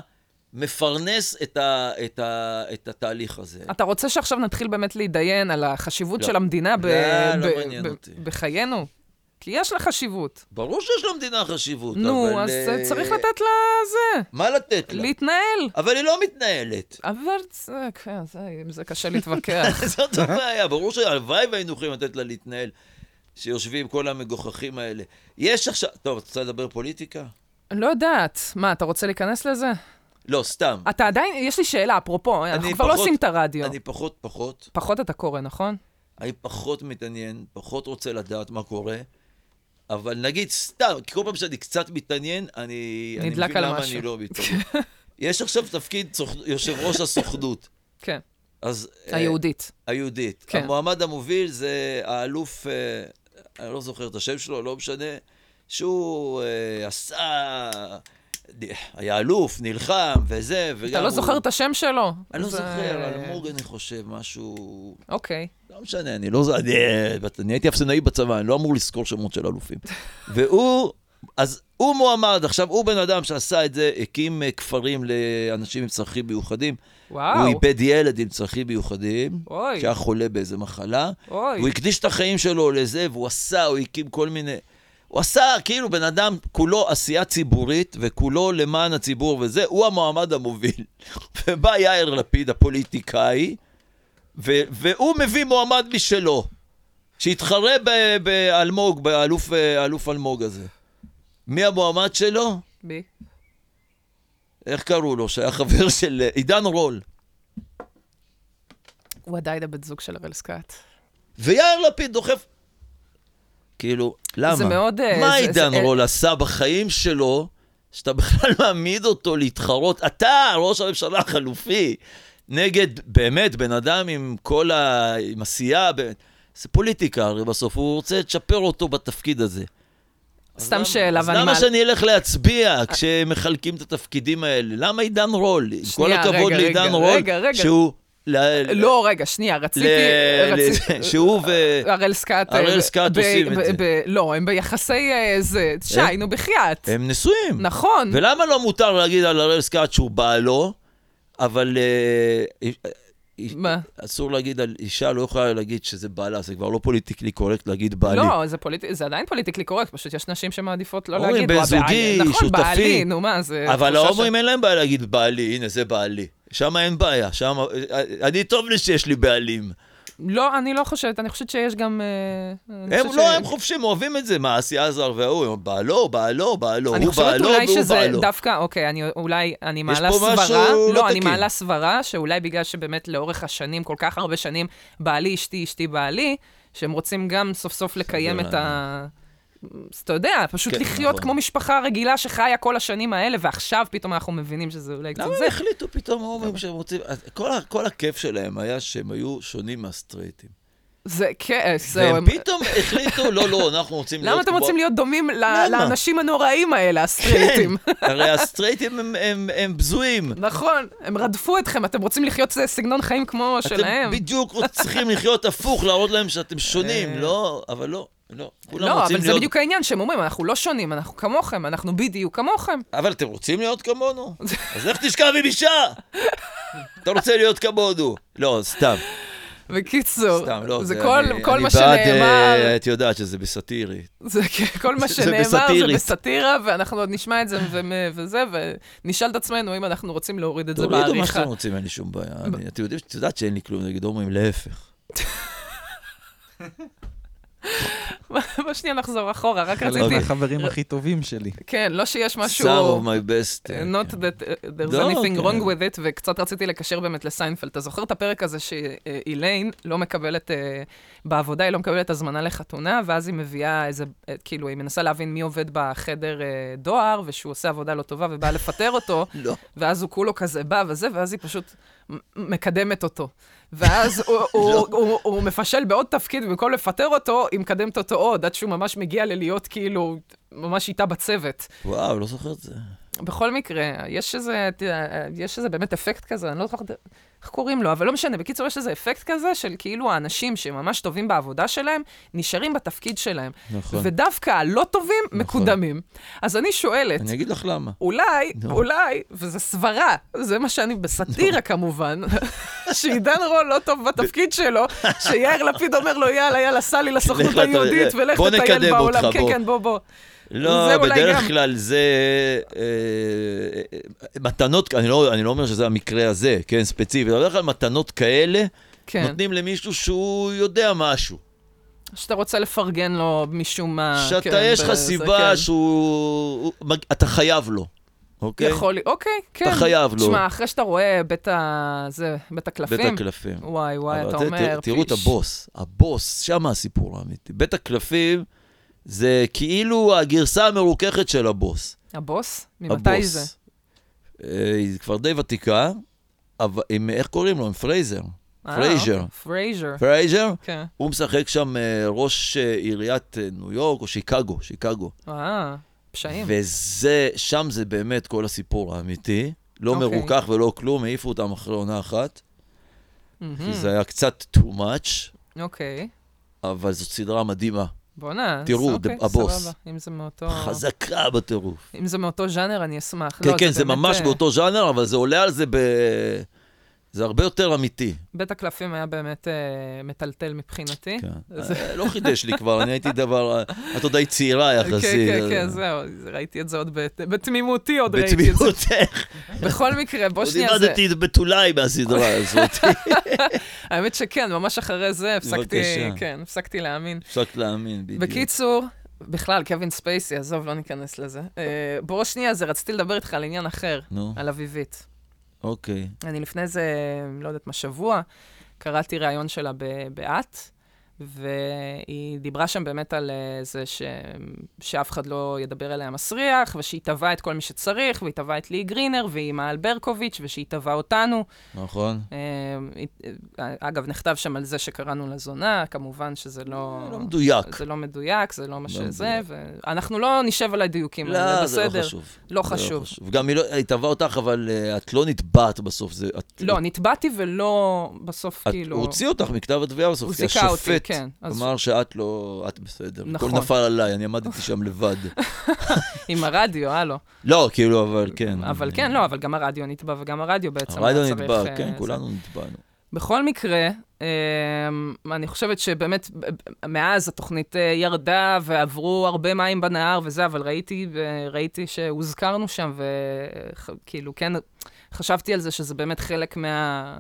S2: מפרנס את, ה, את, ה, את התהליך הזה.
S1: אתה רוצה שעכשיו נתחיל באמת להתדיין על החשיבות
S2: לא.
S1: של המדינה ב-
S2: לא, לא
S1: ב-
S2: מעניין
S1: ב-
S2: אותי.
S1: בחיינו? כי יש לה חשיבות.
S2: ברור שיש למדינה חשיבות, אבל...
S1: נו, אז
S2: אה, לא.
S1: צריך לתת לה זה,
S2: מה לתת לה?
S1: להתנהל.
S2: אבל היא לא מתנהלת. (laughs)
S1: אבל זה, כן, זה- עם זה קשה להתווכח.
S2: זאת הבעיה, ברור שהלוואי והיינו יכולים לתת לה להתנהל, שיושבים כל המגוחכים האלה. יש עכשיו... טוב, את רוצה לדבר פוליטיקה?
S1: לא יודעת. מה, אתה רוצה להיכנס לזה?
S2: לא, סתם.
S1: אתה עדיין, יש לי שאלה, אפרופו, אנחנו
S2: אני
S1: כבר אה, לא
S2: פחות-
S1: עושים את הרדיו.
S2: אני פחות פחות,
S1: פחות אתה קורא, נכון?
S2: אני פחות מתעניין, פחות רוצה לדעת מה קורה, אבל נגיד סתם, כי כל פעם שאני קצת מתעניין, אני... אני
S1: נדלק
S2: מבין
S1: על
S2: למה
S1: משהו.
S2: אני לא מתעניין. יש עכשיו תפקיד סוכ- יושב ראש הסוכנות.
S1: כן,
S2: אז... אה,
S1: היהודית.
S2: היהודית.
S1: כן.
S2: כן. המועמד המוביל זה האלוף, אה, אני לא זוכר את השם שלו, לא משנה, שהוא אה, עשה... היה אלוף, נלחם, וזה, וגם
S1: אתה לא
S2: הוא...
S1: זוכר את השם שלו?
S2: אני לא
S1: זה-
S2: זוכר, אלמוג אני חושב, משהו...
S1: אוקיי.
S2: לא משנה, אני לא... ז- אני, אני הייתי אפסנאי בצבא, אני לא אמור לזכור שמות של אלופים. והוא, אז הוא מועמד, עכשיו הוא בן אדם שעשה את זה, הקים אה, כפרים לאנשים עם צרכים מיוחדים. הוא
S1: וואו.
S2: איבד ילד עם צרכים מיוחדים,
S1: אוי.
S2: שהיה חולה באיזה מחלה.
S1: אוי.
S2: והוא הקדיש את החיים שלו לזה, והוא עשה, הוא הקים כל מיני... הוא עשה, כאילו בן אדם כולו עשייה ציבורית וכולו למען הציבור וזה, הוא המועמד המוביל. (laughs) ובא יאיר לפיד, הפוליטיקאי, ו- והוא מביא מועמד משלו, שיתחרה ב- באלמוג, באלוף אלוף אלמוג הזה. מי המועמד שלו?
S1: בי.
S2: איך קראו לו? שהיה חבר של אה, עידן רול.
S1: הוא עדיין הבת זוג של הראל סקאט.
S2: ויאיר לפיד דוחף. כאילו, למה?
S1: זה מאוד, אה,
S2: מה
S1: זה-
S2: עידן
S1: זה-
S2: רול עשה בחיים שלו, שאתה בכלל (laughs) מעמיד אותו להתחרות? אתה, ראש הממשלה החלופי, נגד באמת בן אדם עם כל ה... עם עשייה, ב... זה פוליטיקה, הרי בסוף הוא רוצה לצ'פר אותו בתפקיד הזה. אז
S1: סתם
S2: למה-
S1: שאלה,
S2: אז
S1: ואני
S2: למה
S1: מעל-
S2: שאני אלך להצביע כשמחלקים את התפקידים האלה? למה עידן רול? עם כל
S1: שנייה,
S2: הכבוד
S1: רגע,
S2: לעידן
S1: רגע,
S2: רול,
S1: רגע, רגע.
S2: שהוא... ל-
S1: לא, רגע, שנייה, רציתי...
S2: ל-
S1: רציתי-
S2: ל- שהוא ו...
S1: הראל סקאט... אה,
S2: הראל
S1: ב-
S2: סקאט
S1: ב-
S2: עושים את
S1: ב-
S2: זה.
S1: ב- לא, הם ביחסי אה, זה... שי,
S2: הם-
S1: נו בחייאת.
S2: הם נשואים.
S1: נכון.
S2: ולמה לא מותר להגיד על הראל סקאט שהוא בעלו, אבל... אה, אי- אי-
S1: מה?
S2: אסור להגיד על אישה, לא יכולה להגיד שזה בעלה, זה כבר לא פוליטיקלי קורקט להגיד בעלי.
S1: לא, זה פוליט- זה עדיין פוליטיקלי קורקט, פשוט יש נשים שמעדיפות לא
S2: אומרים,
S1: להגיד. "וואה,
S2: בן
S1: בעלי".
S2: זוגי,
S1: נכון,
S2: שותפי.
S1: בעלי, נו מה, זה...
S2: אבל
S1: אה, תחושה
S2: ההומואים אין להם בעיה להגיד בעלי, הנה זה בעלי. שם אין בעיה, שם... אה, אני טוב לי שיש לי בעלים.
S1: ש- לא, אני לא חושבת, אני חושבת שיש גם... אה, אני
S2: הם
S1: חושבת
S2: לא,
S1: ש-
S2: הם חופשים, אוהבים את זה, מה, אסי עזר וההוא, הם בעלו, בעלו, בעלו,
S1: אני
S2: הוא
S1: חושבת
S2: בעלו
S1: אולי
S2: והוא
S1: שזה
S2: בעלו.
S1: דווקא, אוקיי, אני אולי, אני מעלה
S2: פה
S1: סברה,
S2: משהו
S1: לא,
S2: לא
S1: אני
S2: תקין.
S1: מעלה סברה שאולי בגלל שבאמת לאורך השנים, כל כך הרבה שנים, בעלי אשתי, אשתי בעלי, שהם רוצים גם סוף סוף לקיים
S2: סביר
S1: את ה... אז אתה יודע, פשוט
S2: כן,
S1: לחיות
S2: נכון.
S1: כמו משפחה רגילה שחיה כל השנים האלה, ועכשיו פתאום אנחנו מבינים שזה אולי קצת
S2: למה
S1: זה.
S2: הם החליטו פתאום ההומואים שהם רוצים... אז כל ה- כל הכיף שלהם היה שהם היו שונים מהסטרייטים.
S1: זה כן, זהו.
S2: והם
S1: הם-
S2: פתאום החליטו, לא, לא, אנחנו רוצים להיות...
S1: למה אתם
S2: כמו-
S1: רוצים להיות דומים ל-
S2: למה?
S1: לאנשים הנוראים האלה, הסטרייטים?
S2: כן, הרי הסטרייטים הם- הם- הם בזויים.
S1: נכון, הם רדפו אתכם, אתם רוצים לחיות אה, סגנון חיים כמו שלהם.
S2: אתם בדיוק צריכים לחיות הפוך, להראות להם שאתם שונים. לא, אבל לא, לא. כולם
S1: אה. לא,
S2: רוצים
S1: אבל זה
S2: להיות-
S1: בדיוק העניין שהם אומרים, אנחנו לא שונים, אנחנו כמוכם, אנחנו בדיוק כמוכם.
S2: אבל אתם רוצים להיות
S1: (laughs)
S2: כמונו? אז לך תשכב עם אישה! אתה רוצה להיות כמונו. לא, סתם,
S1: בקיצור,
S2: סתם, לא.
S1: זה כל-
S2: אני-
S1: כל
S2: אני
S1: מה
S2: בעד,
S1: שנאמר,
S2: אה, את יודעת שזה בסאטירי.
S1: זה כן, כל מה
S2: זה
S1: שנאמר זה
S2: בסאטירית.
S1: בסאטירה, ואנחנו עוד נשמע את זה ו- וזה, ונשאל את עצמנו אם אנחנו רוצים להוריד את זה
S2: תורידו מה
S1: בעריכה.
S2: שאתם רוצים, אין לי שום בעיה. אני- אתם יודעים, את יודעת שאין לי כלום נגד הומואים, להפך.
S1: (laughs) בוא שנייה נחזור אחורה, רק
S3: חלק
S1: רציתי,
S2: אוקיי.
S3: מהחברים הכי טובים שלי.
S1: כן, לא שיש משהו...
S2: Some of my best. אה,
S1: Uh, Not that uh, there's
S2: כן, לא,
S1: anything
S2: כן.
S1: wrong with it, וקצת רציתי לקשר באמת לסיינפלד. אתה זוכר את הפרק הזה שאיליין לא מקבלת, אה, בעבודה היא לא מקבלת הזמנה לחתונה, ואז היא מביאה איזה, אה, כאילו, היא מנסה להבין מי עובד בחדר אה, דואר, ושהוא עושה עבודה לא טובה ובאה לפטר אותו, (laughs)
S2: לא.
S1: ואז הוא כולו כזה בא וזה, ואז היא פשוט מ- מקדמת אותו. ואז
S2: (laughs)
S1: הוא, הוא,
S2: לא.
S1: הוא, הוא, הוא מפשל בעוד תפקיד, במקום לפטר אותו, היא מקדמת אותו עוד, עד שהוא ממש מגיע ללהיות כאילו, ממש איתה בצוות.
S2: וואו, לא זוכר את זה.
S1: בכל מקרה, יש איזה, תראה, יש איזה באמת אפקט כזה, אני לא זוכרת איך קוראים לו, אבל לא משנה. בקיצור, יש איזה אפקט כזה של כאילו האנשים שממש טובים בעבודה שלהם, נשארים בתפקיד שלהם.
S2: נכון.
S1: ודווקא הלא טובים מקודמים. אז אני שואלת,
S2: אני אגיד לך למה.
S1: אולי,
S2: נו.
S1: אולי, וזו סברה, זה מה שאני, בסאטירה כמובן, (laughs) שעידן רול לא טוב בתפקיד שלו, שיאיר לפיד אומר לו, יאללה, יאללה, סע לי
S2: לך
S1: לסוכנות
S2: לת-
S1: היהודית ולך
S2: בוא
S1: תטייל
S2: נקדם
S1: בעולם.
S2: אותך,
S1: כן,
S2: בוא.
S1: כן, בוא, בוא. זה
S2: לא,
S1: אולי
S2: בדרך
S1: גם.
S2: כלל זה אה, אה, מתנות, אני לא, אני לא אומר שזה המקרה הזה, כן, ספציפי, בדרך כלל מתנות כאלה,
S1: כן.
S2: נותנים למישהו שהוא יודע משהו.
S1: שאתה רוצה לפרגן לו משום מה.
S2: שאתה,
S1: כן,
S2: יש לך
S1: וזה,
S2: סיבה
S1: כן.
S2: שהוא... הוא- מג- אתה חייב לו, אוקיי?
S1: יכול, אוקיי, כן.
S2: חייב לו.
S1: תשמע, אחרי שאתה רואה בית ה... זה, בית הקלפים.
S2: בית הקלפים.
S1: וואי, וואי,
S2: אבל
S1: אתה
S2: זה-
S1: אומר,
S2: תראו- תראו את
S1: "פיש".
S2: הבוס, הבוס, שם הסיפור האמיתי. בית הקלפים זה כאילו הגרסה המרוככת של הבוס.
S1: הבוס? ממתי
S2: הבוס.
S1: זה?
S2: אה, היא כבר די ותיקה, אבל עם, איך קוראים לו? עם פרייזר.
S1: אה,
S2: פרייזר.
S1: אוקיי, פרייזר,
S2: פרייזר,
S1: כן.
S2: הוא משחק שם אה, ראש אה, עיריית אה, ניו יורק או שיקגו, שיקגו.
S1: אה, פשעים.
S2: וזה, שם זה באמת כל הסיפור האמיתי. לא
S1: אוקיי. Hmm.
S2: מרוכך ולא כלום, העיפו אותם אחרי עונה אחת,
S1: מהמם,
S2: כי זה היה קצת too much,
S1: אוקיי.
S2: אבל זאת סדרה מדהימה.
S1: בואנה, אז
S2: תראו,
S1: אוקיי,
S2: ד- הבוס.
S1: סבבה. אם זה מאותו...
S2: חזקה בטירוף.
S1: אם זה מאותו ז'אנר, אני אשמח.
S2: כן,
S1: אה. לא,
S2: כן, זה
S1: באמת,
S2: ממש
S1: אה,
S2: באותו ז'אנר, אבל זה עולה על זה ב... זה הרבה יותר אמיתי.
S1: בית הקלפים היה באמת אה, מטלטל מבחינתי.
S2: כן.
S1: זה-
S2: אה, לא חידש לי כבר, אני הייתי דבר, את עוד היית צעירה
S1: כן,
S2: יחסית.
S1: כן, כן, זהו, ראיתי את זה עוד בת- בתמימותי, עוד ראיתי את זה.
S2: בתמימותך,
S1: (laughs) בכל מקרה, בוא
S2: עוד
S1: שנייה זה.
S2: איבדתי את בתולי מהסדרה
S1: (laughs)
S2: הזאת.
S1: האמת שכן, ממש אחרי זה הפסקתי,
S2: בבקשה.
S1: כן, הפסקתי להאמין.
S2: הפסקת להאמין, בדיוק.
S1: בקיצור, בכלל, קווין ספייסי, עזוב, לא ניכנס לזה. אה, בוא שנייה זה, רציתי לדבר איתך על עניין אחר,
S2: נו,
S1: על אביבית.
S2: אוקיי.
S1: אני לפני איזה, לא יודעת מה, שבוע, קראתי ראיון שלה ב- ב"את", והיא דיברה שם באמת על אה, זה ש... שאף אחד לא ידבר אליה מסריח, ושהיא תבעה את כל מי שצריך, והיא תבעה את לי גרינר, והיא מעל ברקוביץ', ושהיא תבעה אותנו.
S2: נכון.
S1: אה, היא- אה, אגב, נכתב שם על זה שקראנו לה זונה, כמובן שזה לא...
S2: לא מדויק.
S1: זה לא מדויק, זה לא מה
S2: לא
S1: שזה, ואנחנו לא נשב על הדיוקים האלה,
S2: לא, זה
S1: בסדר.
S2: לא חשוב.
S1: לא
S2: זה
S1: חשוב.
S2: גם היא לא, היא תבעה אותך, אבל אה, את לא נתבעת בסוף. זה, את,
S1: לא, נתבעתי ולא בסוף,
S2: את,
S1: כאילו...
S2: הוא הוציא אותך מכתב התביעה בסוף,
S1: הוא
S2: כי
S1: זיכה אותי,
S2: השופט
S1: כן, אז-
S2: אמר שאת לא, את בסדר.
S1: נכון.
S2: הכל נפל עליי,
S1: (laughs)
S2: אני עמדתי שם לבד.
S1: עם הרדיו, הלו.
S2: לא, כאילו, אבל כן.
S1: אבל כן, לא, אבל גם הרדיו נתבע, וגם הרדיו בעצם היה
S2: הרדיו
S1: צריך,
S2: נתבע,
S1: אה,
S2: כן,
S1: זה.
S2: כולנו נתבענו.
S1: בכל מקרה, אה, אני חושבת שבאמת, ב- ב- מאז התוכנית אה, ירדה ועברו הרבה מים בנהר וזה, אבל ראיתי, אה, ראיתי שהוזכרנו שם, וכאילו, כן, חשבתי על זה שזה באמת חלק מה...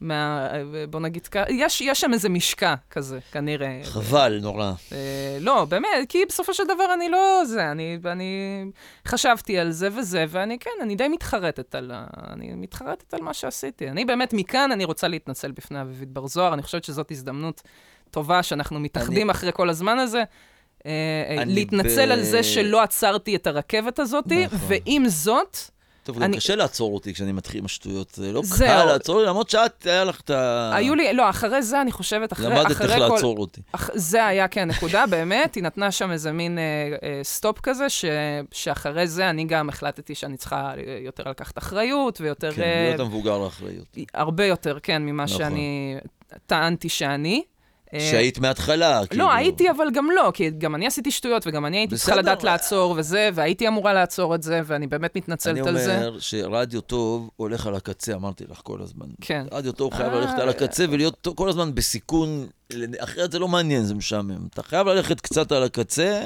S1: מה... אה, בוא נגיד ככה, יש, יש שם איזה משקע כזה, כנראה.
S2: חבל, נורא.
S1: אה, לא, באמת, כי בסופו של דבר אני לא זה, אני, אני חשבתי על זה וזה, ואני כן, אני די מתחרטת על, ה- אני מתחרטת על מה שעשיתי. אני באמת, מכאן אני רוצה להתנצל בפני אביבית בר זוהר, אני חושבת שזאת הזדמנות טובה שאנחנו מתאחדים אחרי כל הזמן הזה. אה, אה,
S2: אני
S1: להתנצל
S2: ב-
S1: על זה שלא עצרתי את הרכבת הזאת,
S2: נכון.
S1: ועם זאת,
S2: טוב, גם
S1: אני-
S2: קשה לעצור אותי כשאני מתחיל עם השטויות. זה לא
S1: זהו.
S2: קל לעצור, לי, למרות שאת, היה לך את ה...
S1: היו לי, לא, אחרי זה, אני חושבת, אחרי,
S2: למדת
S1: אחרי
S2: אה. איך
S1: כל...
S2: לעצור אותי.
S1: אח, זה היה, כן, נקודה, באמת, היא נתנה שם איזה מין אה, אה, סטופ כזה, ש, שאחרי זה אני גם החלטתי שאני צריכה אה, יותר לקחת אחריות, ויותר,
S2: כן,
S1: אה,
S2: להיות המבוגר לאחריות.
S1: הרבה יותר, כן, ממה
S2: נכון.
S1: שאני טענתי שאני. אה,
S2: שהיית מההתחלה, כאילו.
S1: לא, הייתי, אבל גם לא, כי גם אני עשיתי שטויות, וגם אני הייתי צריכה
S2: בסדר,
S1: לדעת
S2: אה.
S1: לעצור וזה, והייתי אמורה לעצור את זה, ואני באמת מתנצלת על
S2: אני
S1: זה.
S2: אומר שרדיו טוב הולך על הקצה, אמרתי לך כל הזמן.
S1: כן.
S2: רדיו טוב חייב
S1: אה.
S2: ללכת על הקצה ולהיות טוב- כל הזמן בסיכון, ל- אחרת זה לא מעניין, זה משעמם. אתה חייב ללכת קצת על הקצה,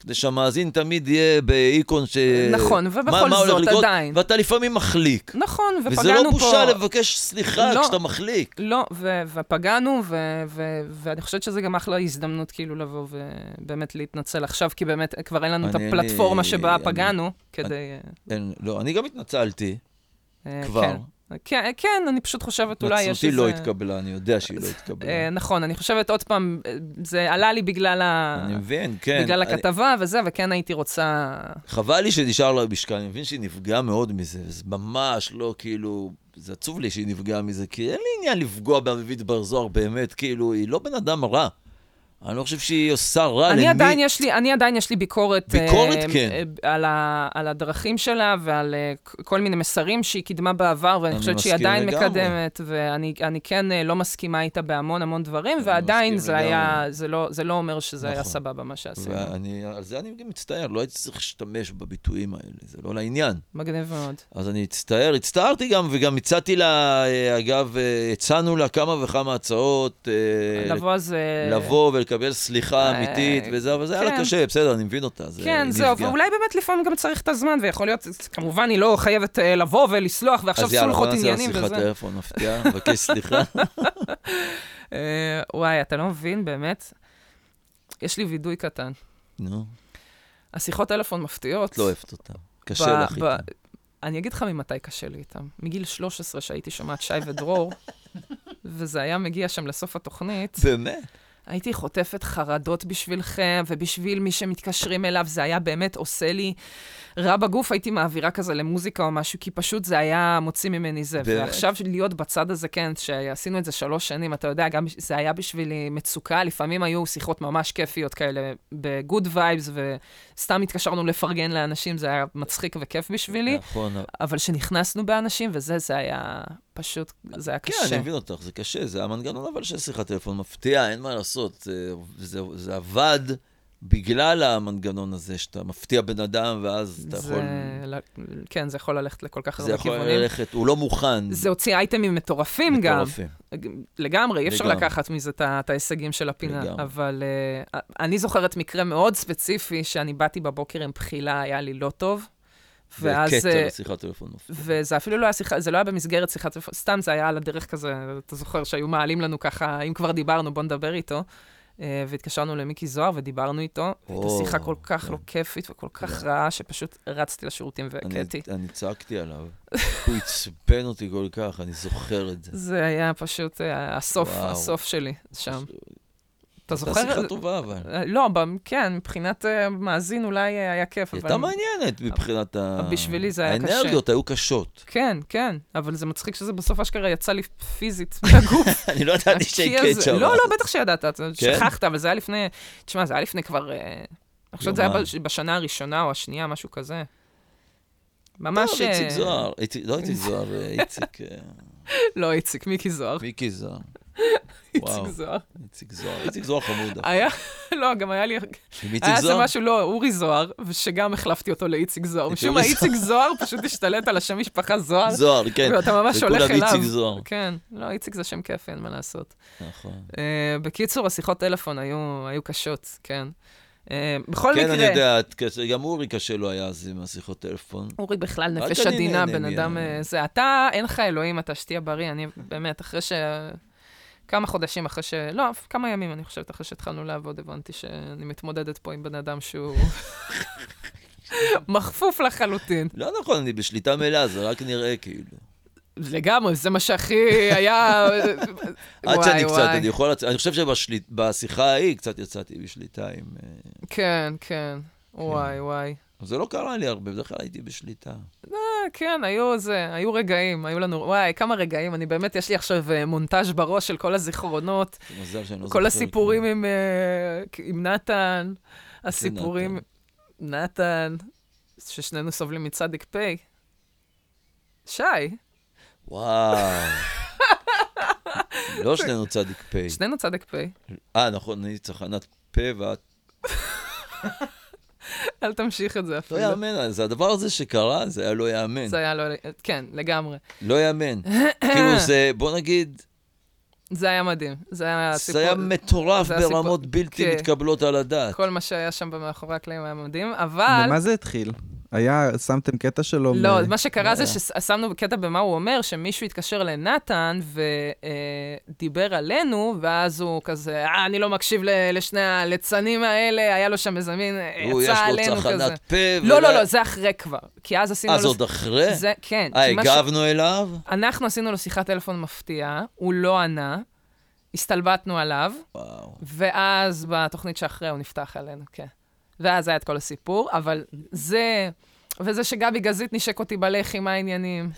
S2: כדי שהמאזין תמיד יהיה באיקון ש...
S1: נכון,
S2: אה, מה-
S1: ובכל
S2: מה הולך
S1: זאת,
S2: לקרות,
S1: עדיין.
S2: ואתה לפעמים מחליק.
S1: נכון, ופגענו פה...
S2: וזה לא בושה לבקש סליחה
S1: לא.
S2: כשאתה מחליק.
S1: לא, ו- ופגענו, ו- ו- ואני חושבת שזה גם אחלה הזדמנות כאילו לבוא ובאמת להתנצל עכשיו, כי באמת כבר אין לנו את
S2: אני-
S1: הפלטפורמה
S2: אני-
S1: שבה
S2: אני-
S1: פגענו, כדי...
S2: אין, לא, אני גם התנצלתי,
S1: אה,
S2: כבר.
S1: כן. כן, כן, אני פשוט חושבת אולי יש
S2: התנצלותי
S1: איזה...
S2: לא התקבלה, אני יודע שהיא לא
S1: אה,
S2: התקבלה.
S1: נכון, אני חושבת עוד פעם, אה, זה עלה לי בגלל ה...
S2: אני מבין, כן.
S1: אה, בגלל
S2: אני-
S1: הכתבה וזה, וכן הייתי רוצה...
S2: חבל לי שנשאר לה משקל, אני מבין שהיא נפגעה מאוד מזה, זה ממש לא כאילו, זה עצוב לי שהיא נפגעה מזה, כי אין לי עניין לפגוע באביבית בר זוהר באמת, כאילו, היא לא בן אדם רע. אני לא חושב שהיא עושה רע למי...
S1: אני עדיין, יש לי, אני עדיין יש לי ביקורת,
S2: ביקורת,
S1: אה,
S2: כן.
S1: אה, על, ה, על הדרכים שלה ועל אה, כ- כל מיני מסרים שהיא קידמה בעבר, ואני
S2: אני
S1: חושבת שהיא
S2: מסכים
S1: עדיין
S2: לגמרי.
S1: מקדמת, ואני אני כן אה, לא מסכימה איתה בהמון המון דברים, ועדיין
S2: מסכים
S1: זה, היה,
S2: לגמרי.
S1: זה, לא, זה לא אומר שזה היה
S2: נכון.
S1: סבבה מה שעשינו.
S2: ואני, על זה אני גם מצטער, לא הייתי צריך להשתמש בביטויים האלה, זה לא לעניין.
S1: מגניב מאוד.
S2: אז אני הצטער, הצטערתי גם, וגם הצעתי לה, אה, אגב, אה, הצענו לה כמה וכמה הצעות. אה,
S1: לבוא אז... אה,
S2: לבוא ולקבל סליחה
S1: אה,
S2: אמיתית וזה, אבל זה היה לה
S1: כן.
S2: קשה, בסדר, אני מבין אותה. זה
S1: כן,
S2: נפגע.
S1: זהו, ואולי באמת לפעמים גם צריך את הזמן, ויכול להיות, כמובן, היא לא חייבת אה, לבוא ולסלוח, ועכשיו סולחות עניינים
S2: אז יאללה, בוא נעשה לה שיחת
S1: וזה.
S2: טלפון מפתיעה, מבקש
S1: (laughs)
S2: סליחה.
S1: אה, וואי, אתה לא מבין, באמת. יש לי וידוי קטן.
S2: נו,
S1: השיחות טלפון מפתיעות.
S2: את לא אוהבת אותה.
S1: ב-
S2: קשה לך
S1: ב-
S2: איתה.
S1: אני אגיד לך ממתי קשה לי איתם. מגיל 13 שהייתי שומעת שי ודרור, וזה היה מגיע שם לסוף התוכנית,
S2: (laughs) באמת?
S1: הייתי חוטפת חרדות בשבילכם ובשביל מי שמתקשרים אליו, זה היה באמת עושה לי רע בגוף, הייתי מעבירה כזה למוזיקה או משהו, כי פשוט זה היה מוציא ממני זה.
S2: באמת?
S1: ועכשיו להיות בצד הזה, כן, שעשינו את זה שלוש שנים, אתה יודע, גם זה היה בשבילי מצוקה, לפעמים היו שיחות ממש כיפיות כאלה, בגוד וייבס, וסתם התקשרנו לפרגן לאנשים, זה היה מצחיק וכיף בשבילי.
S2: נכון.
S1: אבל שנכנסנו באנשים וזה, זה היה פשוט, זה היה
S2: כן,
S1: קשה.
S2: אני מבין אותך, זה קשה, זה המנגנון אבל של שיחת טלפון מפתיעה, אין מה לעשות. זה- זה- זה עבד, בגלל המנגנון הזה שאתה מפתיע בן אדם, ואז אתה
S1: זה...
S2: יכול...
S1: ל- כן, זה יכול ללכת לכל כך
S2: זה
S1: הרבה
S2: יכול
S1: כיוונים.
S2: ללכת, הוא לא מוכן.
S1: זה הוציא אייטמים מטורפים גם.
S2: מטורפים.
S1: לגמרי, אי אפשר
S2: לגמרי.
S1: לקחת מזה את ה- את ההישגים של הפינה.
S2: לגמרי.
S1: אבל אה, אני זוכרת מקרה מאוד ספציפי, שאני באתי בבוקר עם בחילה, היה לי לא טוב. ואז,
S2: וקטע
S1: אה,
S2: לשיחת טלפון מפתיע.
S1: וזה אפילו לא היה שיחה, זה לא היה במסגרת שיחת טלפון, סתם זה היה על הדרך כזה, אתה זוכר שהיו מעלים לנו ככה, אם כבר דיברנו, בוא נדבר איתו. אה, והתקשרנו למיקי זוהר ודיברנו איתו, והייתה
S2: או,
S1: שיחה כל כך
S2: כן.
S1: לא כיפית וכל כך
S2: כן.
S1: רעה, שפשוט רצתי לשירותים
S2: אני-
S1: והקראתי.
S2: אני צעקתי עליו, הוא עצבן אותי כל כך, אני זוכר את זה.
S1: זה היה פשוט אה, הסוף,
S2: וואו.
S1: הסוף שלי שם. אתה
S2: הייתה
S1: זוכר?
S2: שיחה טובה, אבל. היא
S1: אה, לא, ב- כן, מבחינת אה, מאזין אולי אה, היה כיף, אבל...
S2: הייתה מעניינת מבחינת ה...
S1: בשבילי זה היה קשה.
S2: האנרגיות היו
S1: (laughs)
S2: קשות.
S1: כן, כן, אבל זה מצחיק שזה בסוף אשכרה יצא לי פיזית (laughs) מהגוף.
S2: (laughs) אני לא ידעתי
S1: הקיא
S2: שהקט
S1: הזה-
S2: שם.
S1: לא, לא, בטח שידעת, אתה
S2: כן?
S1: שכחת, אבל זה היה לפני, תשמע, זה היה לפני כבר, אה, אני חושבת שזה היה
S2: יומיים.
S1: בש- בשנה הראשונה או השנייה, משהו כזה.
S2: טוב,
S1: ממש...
S2: לא, איציק
S1: אה,
S2: זוהר, איציק- לא איציק
S1: (laughs)
S2: זוהר, אה, איציק, אה,
S1: לא, איציק, מיקי זוהר.
S2: מיקי זוהר,
S1: איציק
S2: וואו.
S1: זוהר.
S2: איציק זוהר, איציק זוהר חמוד.
S1: היה, (laughs) לא, גם היה לי,
S2: עם איציק
S1: היה איזה
S2: זוהר?
S1: משהו, לא, אורי זוהר, ושגם החלפתי אותו לאיציק זוהר.
S2: את
S1: משום מה,
S2: אורי
S1: איציק זוהר פשוט השתלט על השם משפחה זוהר,
S2: זוהר, כן.
S1: ואתה ממש
S2: וכולם
S1: הולך אליו.
S2: איציק זוהר.
S1: כן, לא, איציק זה שם כיפי, אין מה לעשות.
S2: נכון.
S1: אה, בקיצור, השיחות טלפון היו, היו קשות, כן. אה, בכל
S2: כן,
S1: מקרה,
S2: אני יודע, את קשה- גם אורי קשה לו היה אז עם השיחות טלפון.
S1: אורי בכלל
S2: רק
S1: נפש
S2: אני
S1: עדינה,
S2: נהנה
S1: בן
S2: מה-
S1: אדם אה, זה. אתה, אין לך אלוהים, אתה שתהיה בריא,
S2: (laughs)
S1: אני באמת, אחרי ש... כמה חודשים אחרי ש... לא, אף- כמה ימים, אני חושבת, אחרי שהתחלנו לעבוד, הבנתי שאני מתמודדת פה עם בן אדם
S2: (laughs)
S1: שהוא מכפוף לחלוטין.
S2: לא נכון, אני בשליטה מלאה, זה רק נראה כאילו.
S1: לגמרי, זה מה שהכי היה...
S2: (laughs) עד
S1: וואי,
S2: שאני קצת,
S1: וואי.
S2: אני יכול... לצ- אני חושב שבשיחה ההיא קצת יצאתי בשליטה עם... אה,
S1: כן, כן. וואי, וואי.
S2: אבל זה לא קרה לי הרבה, בדרך כלל הייתי בשליטה.
S1: כן, היו זה, היו רגעים, היו לנו, וואי, כמה רגעים, אני באמת, יש לי עכשיו אה, מונטאז' בראש של כל הזיכרונות,
S2: זה מזל שאני לא זוכר.
S1: כל
S2: את
S1: הסיפורים
S2: כולם.
S1: עם, אה, עם נתן, הסיפורים,
S2: כן,
S1: נתן, ששנינו סובלים מצדיק פ', שי,
S2: וואו. לא שנינו צדיק פה.
S1: שנינו צדיק פ',
S2: אה, נכון, אני צחנת פה ואת...
S1: אל תמשיך את זה
S2: לא
S1: אפילו.
S2: יאמן, אז הדבר הזה שקרה, זה היה לא יאמן.
S1: זה היה לא, כן, לגמרי.
S2: לא יאמן. כאילו זה, בוא נגיד,
S1: זה היה מדהים, זה היה
S2: זה
S1: הסיפור.
S2: היה מטורף
S1: זה הסיפור-
S2: ברמות בלתי
S1: כן.
S2: מתקבלות על הדעת.
S1: כל מה שהיה שם מאחורי הקלעים היה מדהים, אבל...
S3: ממה זה התחיל? היה, שמתם קטע שלו... מ-
S1: אה, לא, מה שקרה זה
S2: לא.
S1: ששמנו קטע במה הוא אומר, שמישהו התקשר לנתן ודיבר עלינו, ואז הוא כזה, אה, אני לא מקשיב ל- לשני הליצנים האלה, היה לו שם איזה מין, אה,
S2: הוא, יש
S1: יצא
S2: לו
S1: עלינו כזה.
S2: צחנת פה.
S1: לא,
S2: ולא-
S1: לא, לא, זה אחרי כבר. כי אז עשינו
S2: אה, זה
S1: לו...
S2: עוד אחרי?
S1: זה, כן.
S2: אה,
S1: כי מה ש-
S2: הגבנו אליו?
S1: אנחנו עשינו לו שיחת טלפון מפתיעה, הוא לא ענה, הסתלבטנו עליו,
S2: וואו.
S1: ואז בתוכנית שאחרי הוא נפתח עלינו, כן. ואז היה את כל הסיפור, אבל זה... וזה שגבי גזית נשק אותי בלחי, מה העניינים?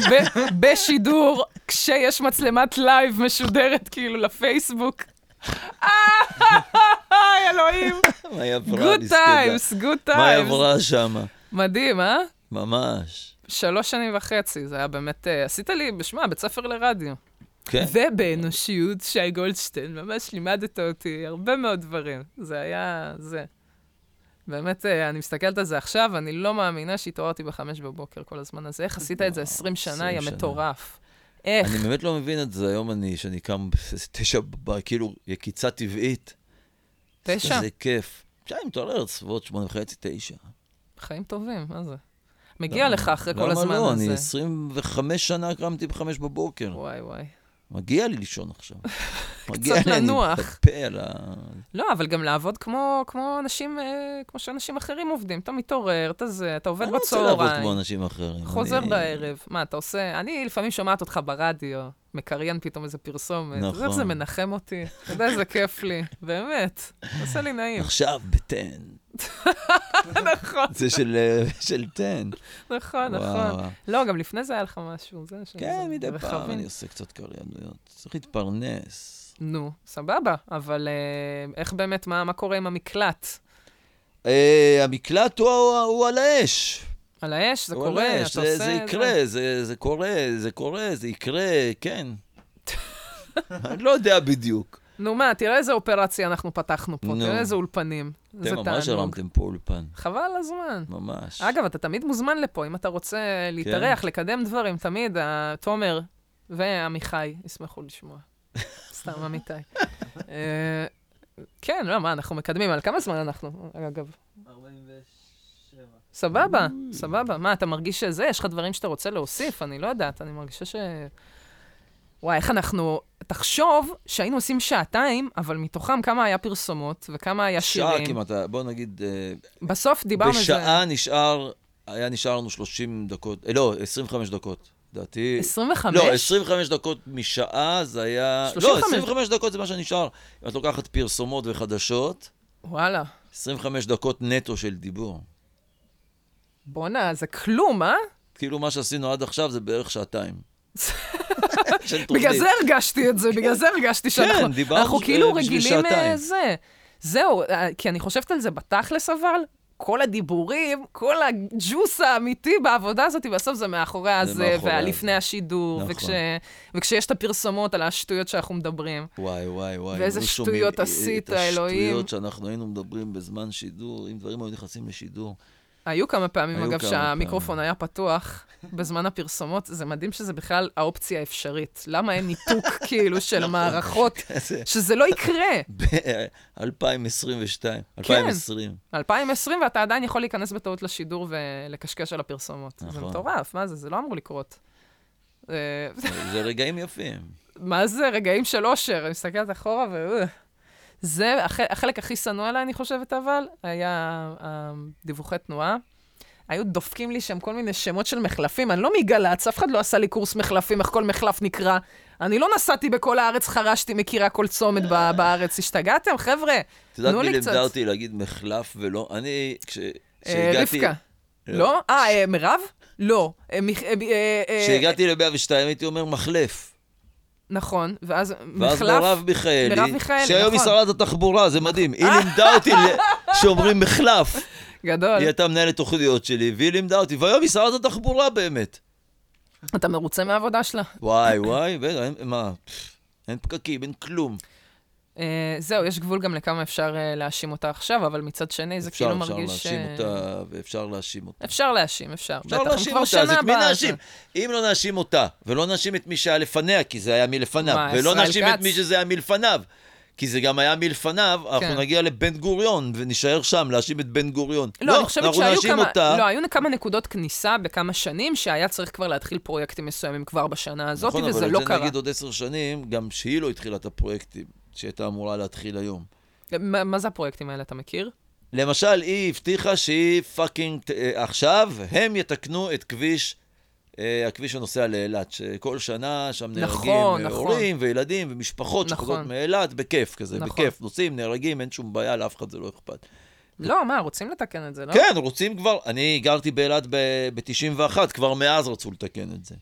S1: ב- בשידור, כשיש מצלמת לייב משודרת כאילו לפייסבוק. איי, אלוהים,
S2: מה היא עברה?
S1: גוד
S2: מסכנה.
S1: טיימס, גוד
S2: מה היא
S1: טיימס.
S2: עברה שם?
S1: מדהים, אה?
S2: ממש.
S1: שלוש שנים וחצי, זה היה באמת... אה, עשית לי, בשמה, בית ספר לרדיו.
S2: כן.
S1: ובאנושיות, שי גולדשטיין, ממש לימדת אותי הרבה מאוד דברים. זה היה זה. באמת, אה, אני מסתכלת על זה עכשיו, אני לא מאמינה שהתעוררתי בחמש בבוקר כל הזמן הזה. איך עשית את זה
S2: וואו,
S1: 20 שנה,
S2: 20
S1: יא
S2: שנה.
S1: מטורף. איך?
S2: אני באמת לא מבין את זה, היום אני, שאני קם בתשע, בבא- כאילו, יקיצה טבעית.
S1: תשע?
S2: זה כיף. תשע, אני מתעורר סביבות שמונה וחצי, תשע.
S1: חיים טובים, מה זה? מגיע
S2: למה-
S1: לך אחרי כל הזמן
S2: למה לא?
S1: הזה.
S2: אני 25 שנה קמתי בחמש בבוקר.
S1: וואי וואי.
S2: מגיע לי לישון
S1: (laughs)
S2: עכשיו.
S1: קצת לנוח.
S2: אני מתפפה על ה...
S1: לא, אבל גם לעבוד כמו, כמו אנשים, אה, כמו שאנשים אחרים עובדים. אתה מתעורר, אתה זה, אתה עובד
S2: אני לא רוצה לעבוד
S1: בצהריים.
S2: כמו אנשים אחרים. (laughs)
S1: חוזר
S2: אני-
S1: בערב, מה אתה עושה? אני לפעמים שומעת אותך ברדיו, מקריין פתאום איזה פרסומת. נכון. אתה יודע איך זה
S2: נכון.
S1: מנחם אותי? אתה יודע איזה כיף לי,
S2: (laughs)
S1: באמת. עושה לי נעים.
S2: עכשיו, בטן.
S1: (laughs) נכון,
S2: זה של אה, (laughs) של טן.
S1: נכון,
S2: וואו,
S1: נכון.
S2: וואו.
S1: לא, גם לפני זה היה לך משהו. זה ש-
S2: כן,
S1: זה
S2: מדי פעם
S1: רכבים.
S2: אני עושה קצת קריינות. צריך להתפרנס.
S1: נו, סבבה, אבל אה, איך באמת, מה מה קורה עם המקלט?
S2: אה, המקלט הוא- הוא הוא על האש.
S1: על האש, זה
S2: הוא על
S1: קורה,
S2: האש.
S1: אתה
S2: זה-
S1: עושה...
S2: זה יקרה, זה- זה קורה, זה קורה, זה יקרה,
S1: (laughs)
S2: כן. אני לא יודע בדיוק.
S1: נו מה, תראה איזה אופרציה אנחנו פתחנו פה,
S2: נו.
S1: תראה איזה אולפנים. זה
S2: אתם ממש
S1: תענוג.
S2: הרמתם פה אולפן,
S1: חבל על הזמן.
S2: ממש.
S1: אגב, אתה תמיד מוזמן לפה, אם אתה רוצה
S2: כן.
S1: להתארח, לקדם דברים, תמיד, ה- תומר ועמיחי ישמחו
S2: (laughs)
S1: לשמוע. סתם, אמיתי. אה, כן, לא, מה, אנחנו מקדמים, על כמה זמן אנחנו, אגב?
S4: 47.
S1: סבבה, סבבה. מה, אתה מרגיש שזה? יש לך דברים שאתה רוצה להוסיף? אני לא יודעת, אני מרגישה ש... וואי, איך אנחנו... תחשוב שהיינו עושים שעתיים, אבל מתוכם כמה היה פרסומות וכמה היה
S2: שעה
S1: שירים.
S2: כמעט, בוא נגיד, אה,
S1: בסוף דיברנו על זה.
S2: בשעה נשאר, היה נשארנו 30 דקות, אה, לא, 25 דקות, לדעתי.
S1: 25?
S2: לא, 25 דקות משעה זה היה...
S1: 35.
S2: לא, 25 דקות זה מה שנשאר. אם את לוקחת פרסומות וחדשות,
S1: וואלה.
S2: 25 דקות נטו של דיבור.
S1: בואנה, זה כלום, אה?
S2: כאילו מה שעשינו עד עכשיו זה
S1: (laughs)
S2: בערך שעתיים. של תוכנית. כן,
S1: בגלל זה הרגשתי את זה, בגלל זה הרגשתי שאנחנו...
S2: דיברנו
S1: אנחנו
S2: ש-
S1: כאילו
S2: בשביל
S1: רגילים אה,
S2: שעתיים.
S1: זה. זהו, אה, כי אני חושבת על זה בתכלס אבל, כל הדיבורים, כל הג'וס האמיתי בעבודה הזאת, בסוף זה מאחורי הזה,
S2: מאחורי
S1: ולפני
S2: הזה.
S1: השידור,
S2: נכון.
S1: וכש- וכשיש את הפרסומות על השטויות שאנחנו מדברים.
S2: וואי, וואי, וואי.
S1: ואיזה
S2: היו
S1: שטויות
S2: שומעים, אה,
S1: עשית,
S2: את
S1: אלוהים.
S2: השטויות שאנחנו היינו מדברים בזמן שידור, אם דברים היו נכנסים לשידור. (laughs)
S1: היו כמה פעמים,
S2: היו
S1: אגב,
S2: כמה
S1: שהמיקרופון היה פתוח בזמן הפרסומות, זה מדהים שזה בכלל האופציה האפשרית. למה אין
S2: (laughs)
S1: ניתוק, כאילו,
S2: נכון.
S1: של מערכות,
S2: זה-
S1: שזה לא יקרה.
S2: ב-2022,
S1: כן.
S2: 2020.
S1: 2020, ואתה עדיין יכול להיכנס בטעות לשידור ולקשקש על הפרסומות. זה
S2: נכון.
S1: מטורף, מה זה? זה לא אמור לקרות. אה,
S2: זה רגעים יפים.
S1: מה זה רגעים של אושר? אני מסתכלת אחורה ו... אה. זה הח- החלק הכי שנוא עליי, אני חושבת, אבל, היה אה, דיווחי תנועה. היו דופקים לי שם כל מיני שמות של מחלפים. אני לא מגל"צ, אף אחד לא עשה לי קורס מחלפים, איך כל מחלף נקרא. אני לא נסעתי בכל הארץ, חרשתי, מכירה כל צומת ב- בארץ. השתגעתם, חבר'ה?
S2: את יודעת
S1: תנו
S2: מי
S1: לי קצת.
S2: לימדה אותי להגיד מחלף ולא? אני, כש-
S1: אה,
S2: כשהגעתי...
S1: רבקה. לא? אה, אה, מירב? לא. אה, מיכ- אה, אה, אה,
S2: כשהגעתי ל-102 הייתי אומר מחלף.
S1: נכון, ואז
S2: ואז
S1: מחלף...
S2: מרב מיכאלי,
S1: מרב מיכאלי,
S2: שהיום היא
S1: נכון.
S2: שרת התחבורה, זה מדהים. היא לימדה אותי
S1: (laughs)
S2: ל- שאומרים מחלף.
S1: נכון. גדול.
S2: היא הייתה מנהלת תוכניות שלי, והיא לימדה אותי, והיום היא שרת התחבורה באמת.
S1: אתה מרוצה מהעבודה שלה?
S2: וואי, וואי, בטח, אין- מה, פff, אין פקקים, אין כלום.
S1: אה, זהו, יש גבול גם לכמה אפשר אה, להאשים אותה עכשיו, אבל מצד שני זה
S2: אפשר,
S1: כאילו
S2: אפשר
S1: מרגיש...
S2: להאשים
S1: אה,
S2: אותה, ואפשר להאשים אותה.
S1: אפשר להאשים, אפשר. בטח,
S2: אפשר
S1: הם
S2: להאשים
S1: כבר
S2: אותה, אז
S1: שנה
S2: את מי
S1: הבאה,
S2: נאשים? אם לא נאשים אותה, ולא נאשים את מי שהיה לפניה, כי זה היה מלפניו,
S1: מה,
S2: ולא
S1: ישראל
S2: נאשים את
S1: כץ?
S2: מי שזה היה מלפניו, כי זה גם היה מלפניו,
S1: כן.
S2: אנחנו נגיע לבן גוריון, ונישאר שם, להאשים את בן גוריון.
S1: לא, אני חושבת
S2: אנחנו
S1: שהיו
S2: נאשים
S1: כמה,
S2: אותה.
S1: לא, היו כמה נקודות כניסה בכמה שנים שהיה צריך כבר להתחיל פרויקטים מסוימים כבר בשנה הזאת,
S2: נכון,
S1: וזה
S2: אבל
S1: לא
S2: את זה
S1: קרה.
S2: נגיד עוד עשר שנים, גם שהיא לא התחילה את הפרויקטים שהייתה אמורה להתחיל היום.
S1: מה- מה זה הפרויקטים האלה, אתה מכיר?
S2: למשל, היא הבטיחה שהיא פאקינג, ת- אה, עכשיו הם יתקנו את כביש, אה, הכביש שנוסע לאילת, שכל שנה שם נהרגים
S1: נכון,
S2: אה,
S1: נכון.
S2: הורים וילדים ומשפחות
S1: נכון.
S2: שחוזרות מאילת, בכיף כזה,
S1: נכון.
S2: בכיף, נוסעים, נהרגים, אין שום בעיה, לאף אחד זה לא אכפת.
S1: לא, מה, רוצים לתקן את זה, לא?
S2: כן, רוצים כבר, אני גרתי באילת ב-91, כבר מאז רצו לתקן את זה.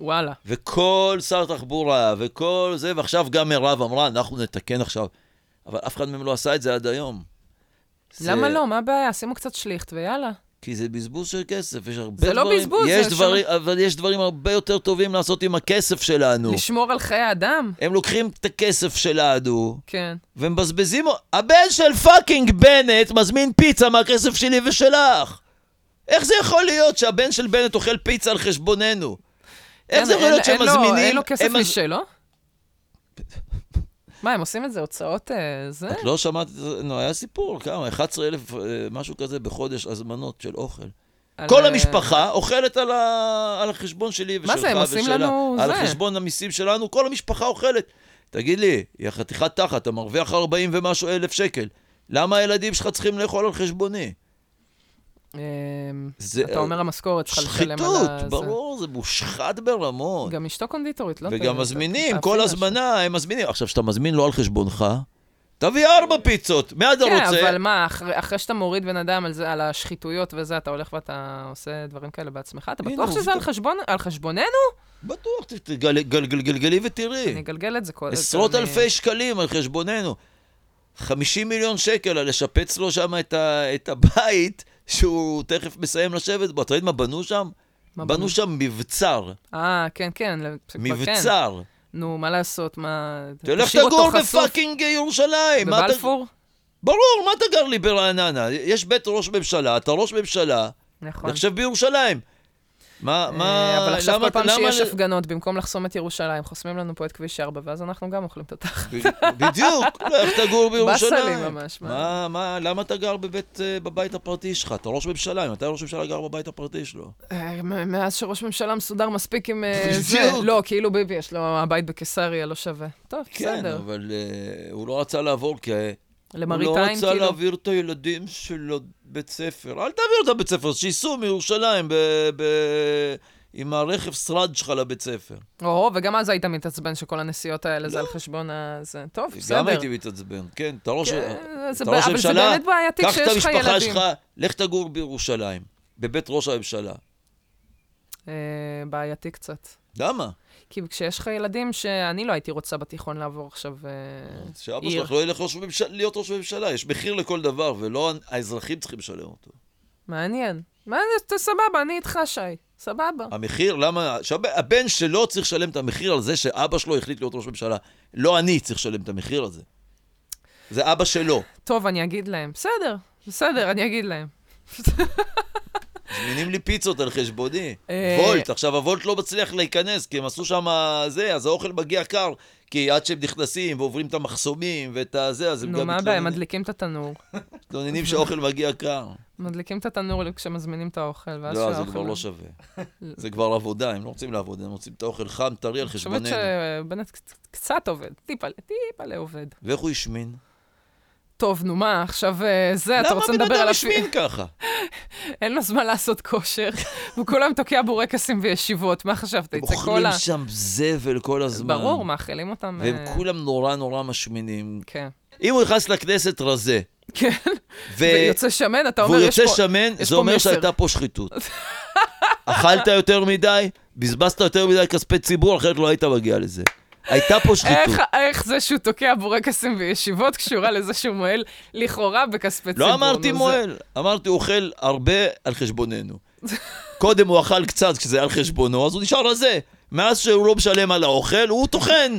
S1: וואלה.
S2: וכל שר תחבורה, וכל זה, ועכשיו גם מירב אמרה, אנחנו נתקן עכשיו. אבל אף אחד מהם לא עשה את זה עד היום. זה-
S1: למה לא? מה הבעיה? שימו קצת שליכט ויאללה.
S2: כי זה בזבוז של כסף, יש הרבה
S1: זה לא
S2: דברים...
S1: בזבוז,
S2: יש
S1: זה
S2: דברים, אבל יש דברים הרבה יותר טובים לעשות עם הכסף שלנו.
S1: לשמור על חיי אדם?
S2: הם לוקחים את הכסף שלנו,
S1: כן.
S2: ומבזבזים... הבן של פאקינג בנט מזמין פיצה מהכסף שלי ושלך. איך זה יכול להיות שהבן של בנט אוכל פיצה על חשבוננו? איך
S1: אין-
S2: זה יכול
S1: אין-
S2: להיות שהם
S1: אין לו-
S2: מזמינים...
S1: אין לו כסף
S2: הם מז-
S1: משלו? מה, הם עושים את זה הוצאות אה, זה?
S2: את לא שמעת את זה? נו, היה סיפור, כמה? 11,000, אה, משהו כזה בחודש הזמנות של אוכל.
S1: על,
S2: כל
S1: אה,
S2: המשפחה אוכלת על, ה... על החשבון שלי ושלך
S1: מה זה, הם עושים
S2: ושלה.
S1: לנו
S2: על
S1: זה.
S2: חשבון המיסים שלנו, כל המשפחה אוכלת. תגיד לי, יא חתיכת תחת, אתה מרוויח 40 ומשהו אלף שקל. למה הילדים שלך צריכים לאכול על חשבוני?
S1: אמ,
S2: זה
S1: אתה אומר המשכורת שלך לשלם על ה...
S2: שחיתות,
S1: זה.
S2: ברור, זה מושחת ברמות.
S1: גם אשתו קונדיטורית, לא?
S2: וגם
S1: אתה-
S2: מזמינים,
S1: אתה-
S2: כל
S1: אתה-
S2: הזמנה, הם מזמינים. עכשיו, כשאתה מזמין לא על חשבונך, תביא ארבע פיצות, מה אתה
S1: אה, כן,
S2: רוצה?
S1: אבל מה, אחרי, אחרי שאתה מוריד בן אדם על, זה, על השחיתויות וזה, אתה הולך ואתה עושה דברים כאלה בעצמך? אתה
S2: הנה,
S1: בטוח שזה
S2: עובדה.
S1: על, חשבון, על חשבוננו?
S2: בטוח, ת- תגל- גל- גל- גלגלי ותראי.
S1: אני אגלגל את זה כל...
S2: כן. עשרות
S1: אני-
S2: אלפי שקלים על חשבוננו. 50 מיליון שקל על לשפץ לו שם את, ה, את הבית שהוא תכף מסיים לשבת בו. אתה יודע מה בנו שם?
S1: מה
S2: בנו שם מבצר,
S1: אה, כן, כן. ל- כבר כן.
S2: מבצר.
S1: נו, מה לעשות, מה...
S2: תלך
S1: תשאיר אותו
S2: תגור
S1: חשוף
S2: בפאקינג ירושלים. מה אתה-
S1: בבלפור?
S2: ברור, מה אתה גר לי ברעננה? יש בית ראש ממשלה, אתה ראש ממשלה,
S1: נכון.
S2: נחשב בירושלים. מה,
S1: אה,
S2: מה,
S1: אבל עכשיו
S2: למה-
S1: כל פעם
S2: למה-
S1: שיש הפגנות, במקום לחסום את ירושלים, חוסמים לנו פה את כביש 4, ואז אנחנו גם אוכלים את התחת.
S2: בדיוק, לך תגור בירושלים.
S1: באסה לי ממש, מה?
S2: מה, מה, למה אתה גר בבית, אה, בבית הפרטי שלך? אתה ראש ממשלה, אם אתה ראש ממשלה גר בבית הפרטי שלו.
S1: אה, מ- מאז שראש ממשלה מסודר מספיק עם אה, זה.
S2: בדיוק.
S1: לא, כאילו ביבי, יש לו הבית בקיסריה, לא שווה. טוב,
S2: כן,
S1: בסדר.
S2: אבל אה, הוא לא רצה לעבור, כי אה, הוא
S1: למראית
S2: לא
S1: עין,
S2: רצה
S1: כאילו.
S2: להעביר את הילדים שלו בית ספר. אל תעביר אותם בית ספר, שייסעו מירושלים ב- ב- עם הרכב שרד שלך לבית ספר.
S1: או, וגם אז היית מתעצבן שכל הנסיעות האלה זה על חשבון ה... זה- טוב,
S2: לא. גם
S1: בסדר.
S2: הייתי מתעצבן, כן, אתה ראש...
S1: כן, זה
S2: אתה
S1: ב-
S2: ראש
S1: אבל זה
S2: ממשלה,
S1: באמת בעייתי
S2: קח את
S1: כשיש לך
S2: המשפחה
S1: ילדים.
S2: שלך, לך תגור בירושלים, בבית ראש הממשלה.
S1: אה, בעייתי קצת.
S2: למה?
S1: כי כשיש לך ילדים שאני לא הייתי רוצה בתיכון לעבור עכשיו... אה,
S2: שאבא
S1: עיר.
S2: שלך לא ילך ראש ממשלה, להיות ראש ממשלה, יש מחיר לכל דבר, ולא האזרחים צריכים לשלם אותו.
S1: מעניין. מעניין, אתה סבבה, אני איתך, שי. סבבה.
S2: המחיר, למה... שהבן שלו צריך לשלם את המחיר על זה שאבא שלו החליט להיות ראש ממשלה. לא אני צריך לשלם את המחיר על זה. זה אבא שלו.
S1: טוב, אני אגיד להם. בסדר, בסדר, אני אגיד להם.
S2: מזמינים לי פיצות על חשבוני.
S1: אה.
S2: וולט, עכשיו הוולט לא מצליח להיכנס, כי הם עשו שם זה, אז האוכל מגיע קר, כי עד שהם נכנסים ועוברים את המחסומים ואת הזה, אז הם
S1: נו,
S2: גם
S1: מה הבעיה?
S2: מתלוננים-
S1: מדליקים את התנור.
S2: מתלוננים שהאוכל מגיע קר.
S1: מדליקים את התנור כשמזמינים את האוכל, (laughs) ואז
S2: לא, זה
S1: שהאוכל-
S2: כבר לא
S1: (laughs)
S2: שווה. זה כבר עבודה, הם לא רוצים לעבוד, הם רוצים את האוכל חם, טרי
S1: אני
S2: על
S1: חושבת
S2: חשבוננו.
S1: שבנט קצ- קצת עובד, טיפה, טיפה עובד.
S2: ואיך הוא השמין?
S1: טוב, נו מה, עכשיו אה, זה, אתה
S2: למה
S1: רוצה
S2: בן
S1: לדבר
S2: אדם
S1: על... הפי-
S2: השמין ככה?
S1: אין לו זמן לעשות כושר, (laughs) והוא כל היום תוקע בורקסים וישיבות, מה חשבת?
S2: הם
S1: יצא כל ה...
S2: אוכלים שם זבל כל הזמן.
S1: ברור, מאכילים אותם... אה,
S2: והם כולם נורא נורא משמינים.
S1: כן.
S2: אם הוא נכנס לכנסת רזה,
S1: כן,
S2: ו-
S1: ויוצא שמן, אתה
S2: והוא
S1: אומר, יש
S2: יוצא
S1: פה...
S2: שמן,
S1: יש
S2: זה
S1: פה
S2: אומר
S1: מסר.
S2: שהייתה פה שחיתות. (laughs) אכלת יותר מדי, בזבזת יותר מדי כספי ציבור, אחרת לא היית מגיע לזה. הייתה פה שחיתות.
S1: איך, איך זה שהוא תוקע בורקסים וישיבות קשורה לזה שהוא מועל לכאורה בכספי ציבור?
S2: לא אמרתי
S1: נו, זה-
S2: מועל, אמרתי הוא אוכל הרבה על חשבוננו. קודם הוא אכל קצת כשזה היה על חשבונו, אז הוא נשאר רזה. מאז שהוא לא משלם על האוכל, הוא טוחן,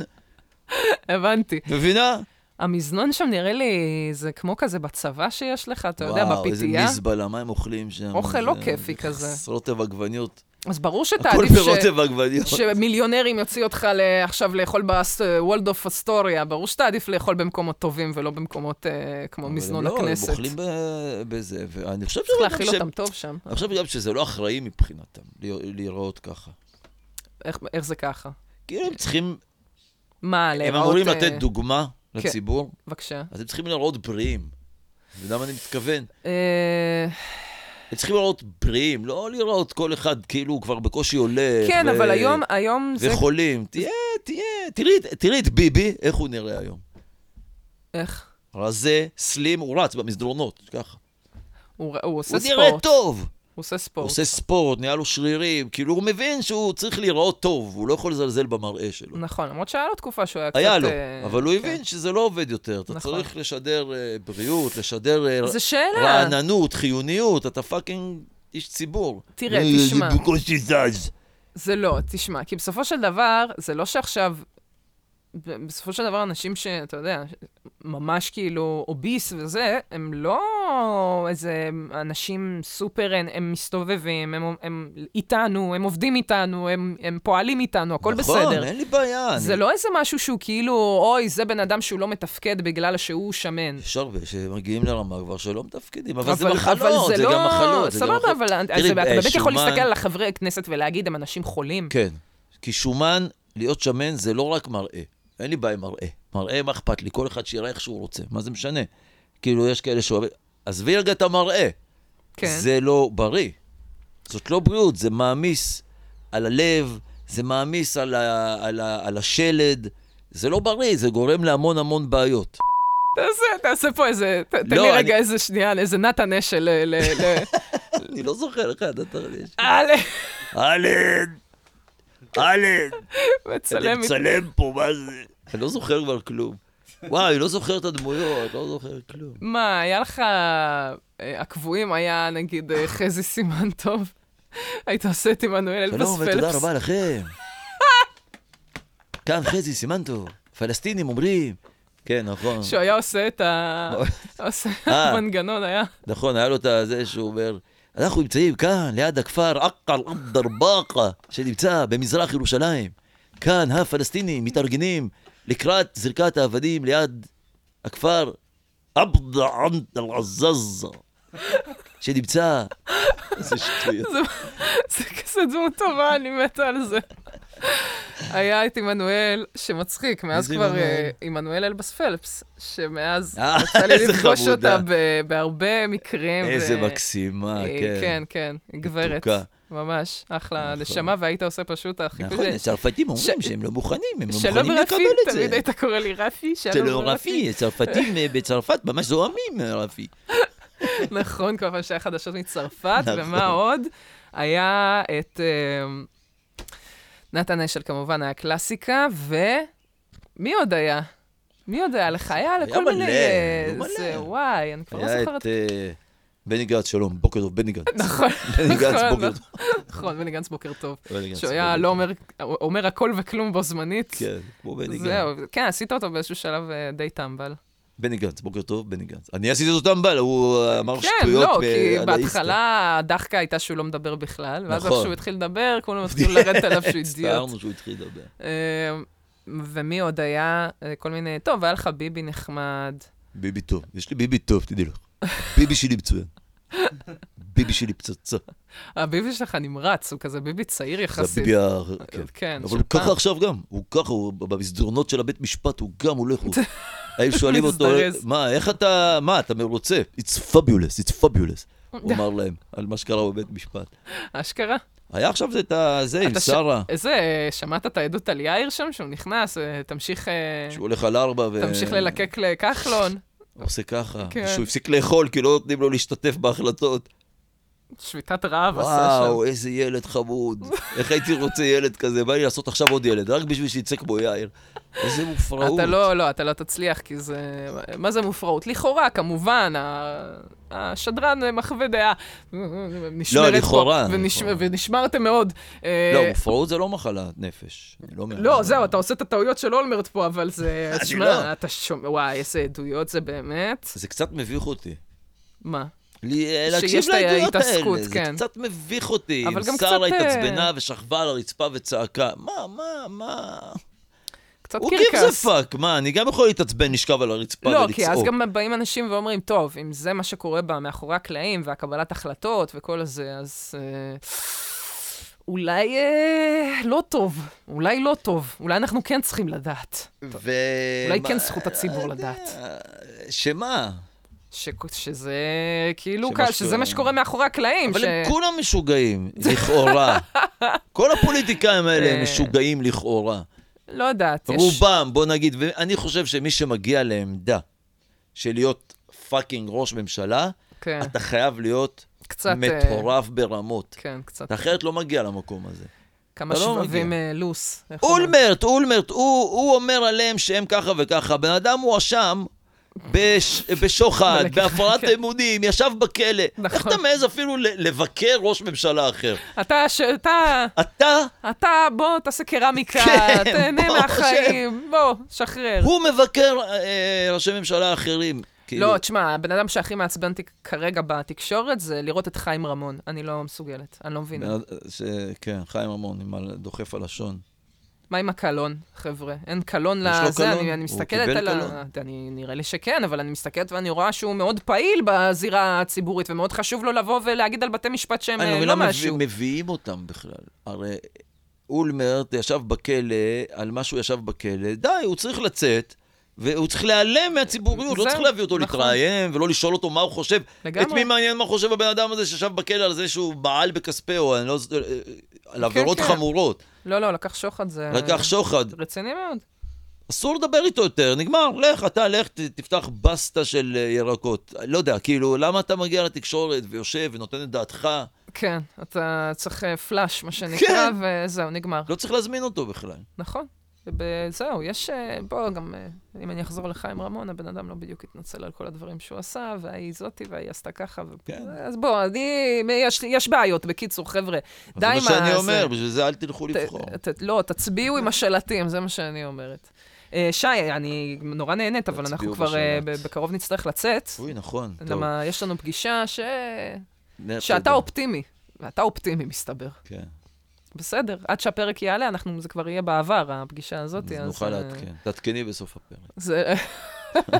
S1: הבנתי.
S2: מבינה?
S1: המזנון שם נראה לי, זה כמו כזה בצבא שיש לך, אתה יודע,
S2: וואו, איזה
S1: בפיתייה.
S2: מזבלה, מה הם אוכלים שם?
S1: אוכל
S2: זה-
S1: לא כיפי כזה.
S2: רוטב עגבניות.
S1: אז ברור
S2: הכל
S1: שתעדיף ש...
S2: ברוטב עגבניות.
S1: שמיליונרים יוציאו אותך ל... עכשיו לאכול בוולדוף אסטוריה, ברור שתעדיף לאכול במקומות טובים ולא במקומות אה, כמו
S2: אבל
S1: מזנון
S2: הם לא,
S1: הכנסת.
S2: הם אוכלים ב- בזה, ואני חושב
S1: צריך
S2: שזה
S1: להאכיל
S2: שהם-
S1: אותם טוב שם.
S2: אני חושב גם שזה לא אחראי מבחינתם, לה- להיראות ככה.
S1: איך- איך זה ככה?
S2: כאילו הם צריכים,
S1: מה,
S2: הם
S1: להיראות...
S2: אמורים
S1: אה, כן.
S2: לתת דוגמה לציבור,
S1: בבקשה.
S2: אז הם צריכים להיראות בריאים. אתה יודע מה אני מתכוון?
S1: אה,
S2: הם צריכים להיראות בריאים, לא להיראות כל אחד כאילו הוא כבר בקושי הולך.
S1: כן,
S2: ו-
S1: אבל היום, היום זה...
S2: וחולים. תהיה, תהיה, תראי את- תראי את ביבי, איך הוא נראה היום.
S1: איך?
S2: רזה, סלים, הוא רץ במסדרונות, ככה.
S1: הוא הוא עושה
S2: הוא נראה
S1: ספורט.
S2: טוב.
S1: הוא עושה
S2: הוא
S1: ספורט.
S2: עושה ספורט, נהיה לו שרירים, כאילו הוא מבין שהוא צריך להיראות טוב, הוא לא יכול לזלזל במראה שלו.
S1: נכון, למרות שהיה לו תקופה שהוא היה קצת...
S2: היה לו,
S1: אה,
S2: אבל הוא
S1: כן.
S2: הבין שזה לא עובד יותר. אתה
S1: נכון.
S2: צריך לשדר אה, בריאות, לשדר אה,
S1: זו שאלה.
S2: רעננות, חיוניות, אתה פאקינג איש ציבור.
S1: תראה,
S2: אה,
S1: תשמע.
S2: זה בקושי זז.
S1: זה לא, תשמע, כי בסופו של דבר, זה לא שעכשיו... ב- בסופו של דבר, אנשים שאתה יודע, ממש כאילו אוביס וזה, הם לא איזה אנשים סופר, הם, הם מסתובבים, הם, הם איתנו, הם עובדים איתנו, הם, הם פועלים איתנו, הכל בסדר.
S2: נכון, אין לי בעיה.
S1: זה
S2: אני-
S1: לא איזה משהו שהוא כאילו, אוי, זה בן אדם שהוא לא מתפקד בגלל שהוא שמן.
S2: יש הרבה שמגיעים לרמה כבר שלא מתפקידים, אבל זה
S1: אבל
S2: מחלות, זה
S1: לא-
S2: גם מחלות. זה גם
S1: סבבה,
S2: מחלות.
S1: אבל אז
S2: תראי,
S1: אתה באמת יכול
S2: שומן-
S1: להסתכל על החברי הכנסת ולהגיד, הם אנשים חולים.
S2: כן, כי שומן, להיות שמן זה לא רק מראה. אין לי בעיה עם מראה. מראה, מה אכפת לי? כל אחד שיראה איך שהוא רוצה. מה זה משנה? כאילו, יש כאלה שאוהבים... עזבי רגע את המראה.
S1: כן.
S2: זה לא בריא. זאת לא בריאות, זה מעמיס על הלב, זה מעמיס על, ה... על, ה... על השלד. זה לא בריא, זה גורם להמון המון בעיות. (laughs)
S1: תעשה, תעשה פה איזה, ת- תן
S2: לא,
S1: לי
S2: אני-
S1: רגע איזה שנייה, איזה נתן אשל ל... ל-
S2: (laughs)
S1: ל-
S2: אני לא זוכר לך, אתה (laughs)
S1: אלה,
S2: אלן! אלן!
S1: מצלם. איתי.
S2: מצלם פה, מה זה? אני לא זוכר כבר כלום. וואי, לא זוכר את הדמויות, לא זוכר כלום.
S1: מה, היה לך... אה, הקבועים היה, נגיד, אה, חזי סימן טוב. (laughs) היית עושה את עמנואל אלבס
S2: שלום ותודה
S1: פלפס.
S2: רבה (laughs) לכם. כאן חזי סימנטו, פלסטינים אומרים, כן, נכון.
S1: שהוא היה עושה את ה... עושה
S2: אה.
S1: מנגנון, היה...
S2: נכון, היה לו את הזה שהוא אומר, אנחנו נמצאים כאן, ליד הכפר עקה אל-אבדר באקה, שנמצא במזרח ירושלים. כאן הפלסטינים מתארגנים לקראת זריקת העבדים ליד הכפר עבדה עמד אל-עזאזה,
S1: (laughs)
S2: שנמצא... איזה (laughs) שטויות.
S1: זה כזה דמות טובה, אני מתה על זה. היה את עמנואל, שמצחיק, מאז
S2: איזה
S1: כבר
S2: עמנואל?
S1: אה, עמנואל אלבס פלפס, שמאז
S2: אה,
S1: יצא לי
S2: איזה
S1: לפגוש
S2: חמודה.
S1: אותה ב- בהרבה מקרים. ו-
S2: איזה מקסימה,
S1: אה,
S2: כן.
S1: כן, כן, היא גברת.
S2: מתוקה.
S1: ממש, אחלה
S2: נכון.
S1: נשמה, והיית עושה פשוט
S2: נכון,
S1: החיקוי הזה.
S2: הצרפתים אומרים
S1: ש-
S2: שהם לא מוכנים, הם לא
S1: שלום
S2: מוכנים
S1: רפי,
S2: לקבל את זה.
S1: תמיד לא היית קורא לי רפי, שלום
S2: שלום
S1: רפי.
S2: רפי, הצרפתים אה, בצרפת ממש זועמים, אה, רפי.
S1: נכון, כל פעם שהיה חדשות מצרפת,
S2: נכון.
S1: ומה עוד? היה את אמ, נתן אשל כמובן, היה קלאסיקה, ומי עוד היה? מי עוד היה לך? היה לכל
S2: מלא,
S1: מיני...
S2: היה
S1: אה,
S2: מלא.
S1: זה, וואי, אני כבר לא
S2: היה
S1: זוכרת.
S2: את אה, בני גנץ, שלום, בוקר טוב,
S1: (laughs)
S2: בני גנץ.
S1: נכון,
S2: בני גנץ,
S1: נכון,
S2: בוקר טוב.
S1: נכון, בני גנץ בוקר טוב.
S2: בני גנץ,
S1: שהוא
S2: בוקר
S1: היה לא
S2: טוב.
S1: אומר, אומר הכל וכלום בו זמנית.
S2: כן, כמו בני גנץ.
S1: זהו, כן, עשית אותו באיזשהו שלב אה, די טמבל.
S2: בני גנץ, בוקר טוב, בני גנץ. אני עשיתי אותו טמבל, הוא אה, אמר
S1: כן,
S2: שטויות.
S1: לא,
S2: ב-
S1: כי
S2: על האיסטר.
S1: בהתחלה הדחקה הייתה שהוא לא מדבר בכלל, ואז
S2: נכון.
S1: איך שהוא התחיל לדבר,
S2: (laughs)
S1: כולם התחילו לרדת עליו שהוא אידיוט.
S2: הצטערנו שהוא התחיל לדבר.
S1: אה, ומי עוד היה? אה, כל מיני... טוב, היה לך ביבי נחמד.
S2: ביבי טוב, יש לי ביבי טוב, תדעי לך. ביבי שלי מצוין.
S1: (laughs)
S2: ביבי שלי פצצה.
S1: הביבי אה, שלך נמרץ, הוא כזה ביבי צעיר
S2: זה
S1: יחסית.
S2: הביבי ה... כן.
S1: כן,
S2: אבל
S1: של
S2: הוא ככה
S1: פעם.
S2: עכשיו גם, הוא ככה, הוא במסדרונות של הבית משפט, הוא גם הולך,
S1: (laughs)
S2: הוא... היו שואלים אותו,
S1: מזדרז.
S2: מה, איך אתה, מה, אתה מרוצה? It's fabulous, it's fabulous.
S1: (laughs)
S2: הוא אמר להם, על מה שקרה בבית משפט.
S1: אשכרה.
S2: היה עכשיו זה את הזה עם
S1: אתה ש-
S2: שרה,
S1: איזה, אה, שמעת את העדות על יאיר שם, שהוא נכנס, אה, תמשיך... אה,
S2: שהוא אה, הולך על ארבע ו...
S1: תמשיך ללקק לכחלון.
S2: עושה ככה,
S1: כן.
S2: שהוא הפסיק לאכול כי לא נותנים לו להשתתף
S1: (laughs)
S2: בהחלטות.
S1: שביתת רעב עשה שם.
S2: וואו, איזה ילד חמוד. איך הייתי רוצה ילד כזה? בא לי לעשות עכשיו עוד ילד, רק בשביל שיצא כמו יאיר. איזה מופרעות.
S1: אתה לא, לא, אתה לא תצליח, כי זה... מה זה מופרעות? לכאורה, כמובן, ה- השדרן מחווה דעה. נשמרת פה,
S2: לא, לכאורה,
S1: ונש-
S2: לכאורה.
S1: ונשמרתם מאוד.
S2: לא,
S1: אה,
S2: מופרעות זה לא מחלת נפש. אני לא...
S1: לא, זהו, אתה עושה את הטעויות של אולמרט פה, אבל זה...
S2: (laughs) אני לא.
S1: תשמע, אתה שומע, וואי, איזה עדויות זה באמת.
S2: זה קצת מביך אותי.
S1: מה?
S2: לי- אה, להקשיב
S1: שיש את
S2: לעדויות
S1: ההתעסקות,
S2: האלה, זה
S1: כן.
S2: קצת מביך אותי.
S1: אבל גם
S2: אם
S1: קצת, אה,
S2: שרה התעצבנה ושכבה על הרצפה וצעקה, מה, מה, מה?
S1: קצת
S2: הוא גיב זה
S1: קרקס.
S2: פאק, מה, אני גם יכול להתעצבן, לשכב על הרצפה
S1: לא,
S2: ולצעוק.
S1: כי אז גם באים אנשים ואומרים, טוב, אם זה מה שקורה בה מאחורי הקלעים, והקבלת החלטות וכל זה, אז אה, אולי אה, לא טוב, אולי לא טוב, אולי אנחנו כן צריכים לדעת.
S2: ו...
S1: אולי
S2: מה-
S1: כן זכות הציבור
S2: אה,
S1: לדעת.
S2: שמה?
S1: ש... שזה כאילו,
S2: שמה
S1: קל,
S2: שקורה.
S1: שזה מה שקורה מאחורי הקלעים.
S2: אבל
S1: ש-
S2: הם כולם משוגעים,
S1: (laughs)
S2: לכאורה. כל הפוליטיקאים האלה הם
S1: אה.
S2: משוגעים לכאורה.
S1: לא יודעת, יש...
S2: רובם, בוא נגיד, ואני חושב שמי שמגיע לעמדה של להיות פאקינג ראש ממשלה,
S1: כן,
S2: אתה חייב להיות
S1: קצת... אה,
S2: מטורף ברמות.
S1: כן, קצת.
S2: אתה אחרת לא מגיע למקום הזה.
S1: כמה
S2: אתה לא
S1: שבבים
S2: מגיע.
S1: אה, לוס. איך אומרים?
S2: אולמרט, אולמרט, הוא, הוא אומר עליהם שהם ככה וככה. בן אדם הואשם בש, בשוחד,
S1: בלקיחה,
S2: בהפרת
S1: כן.
S2: אמונים, ישב בכלא. איך
S1: נכון.
S2: אתה מעז אפילו ל- לבקר ראש ממשלה אחר?
S1: אתה, ש... אתה,
S2: אתה,
S1: אתה, בוא תעשה קרמיקה,
S2: כן,
S1: תהנה
S2: בוא,
S1: מהחיים, בוא, שחרר.
S2: הוא מבקר אה, ראשי ממשלה אחרים. כאילו,
S1: לא, תשמע, הבן אדם שהכי מעצבן אותי כרגע בתקשורת זה לראות את חיים רמון. אני לא מסוגלת, אני לא מבינה.
S2: בן- ש... כן, חיים רמון, עם ה- דוחף הלשון.
S1: מה עם הקלון, חבר'ה? אין קלון
S2: יש לו
S1: לזה,
S2: קלון?
S1: אני, אני
S2: הוא
S1: מסתכלת
S2: קיבל
S1: על ה... אני, נראה לי שכן, אבל אני מסתכלת ואני רואה שהוא מאוד פעיל בזירה הציבורית, ומאוד חשוב לו לבוא ולהגיד על בתי משפט שהם
S2: אני
S1: אה,
S2: מבינה,
S1: לא
S2: מביא-
S1: משהו.
S2: מביאים אותם בכלל. הרי אולמרט ישב בכלא, על מה שהוא ישב בכלא, די, הוא צריך לצאת. והוא צריך להיעלם מהציבוריות, לא
S1: זהו,
S2: צריך להביא אותו
S1: נכון.
S2: להתראיין ולא לשאול אותו מה הוא חושב.
S1: לגמרי.
S2: את מי מעניין מה חושב הבן אדם הזה שישב בכלא על זה שהוא בעל בכספי, או אני לא... ז- על עבירות
S1: כן.
S2: חמורות.
S1: לא, לא, לקח שוחד זה...
S2: לקח שוחד.
S1: רציני מאוד.
S2: אסור לדבר איתו יותר, נגמר, לך, אתה, לך, ת- תפתח בסטה של אה, ירקות. לא יודע, כאילו, למה אתה מגיע לתקשורת ויושב ונותן את דעתך?
S1: כן, אתה צריך אה, פלאש, מה שנקרא, וזהו, נגמר.
S2: לא צריך להזמין אותו בכלל.
S1: נכון. וזהו, יש... אה, בוא, גם אה, אם אני אחזור לחיים רמון, הבן אדם לא בדיוק התנצל על כל הדברים שהוא עשה, וההיא זאתי וההיא עשתה ככה. ו...
S2: כן.
S1: אז בוא, אני... יש, יש בעיות, בקיצור, חבר'ה. די
S2: זה
S1: עם
S2: מה שאני
S1: הזה.
S2: אומר, בשביל זה אל תלכו לבחור.
S1: ת, ת, לא, תצביעו עם השלטים, זה מה שאני אומרת. אה, שי, אני נורא נהנית, אבל
S2: תצביעו
S1: אנחנו כבר אה,
S2: בשאלת.
S1: ב- בקרוב נצטרך לצאת.
S2: אוי, נכון. טוב. אה,
S1: למה יש לנו פגישה ש...
S2: נ-
S1: שאתה
S2: תודה.
S1: אופטימי. ואתה אופטימי, מסתבר.
S2: כן.
S1: בסדר, עד שהפרק יעלה, אנחנו, זה כבר יהיה בעבר, הפגישה הזאת. אה,
S2: אז נוכל לעדכן. תעדכני בסוף הפרק.
S1: זה... (laughs)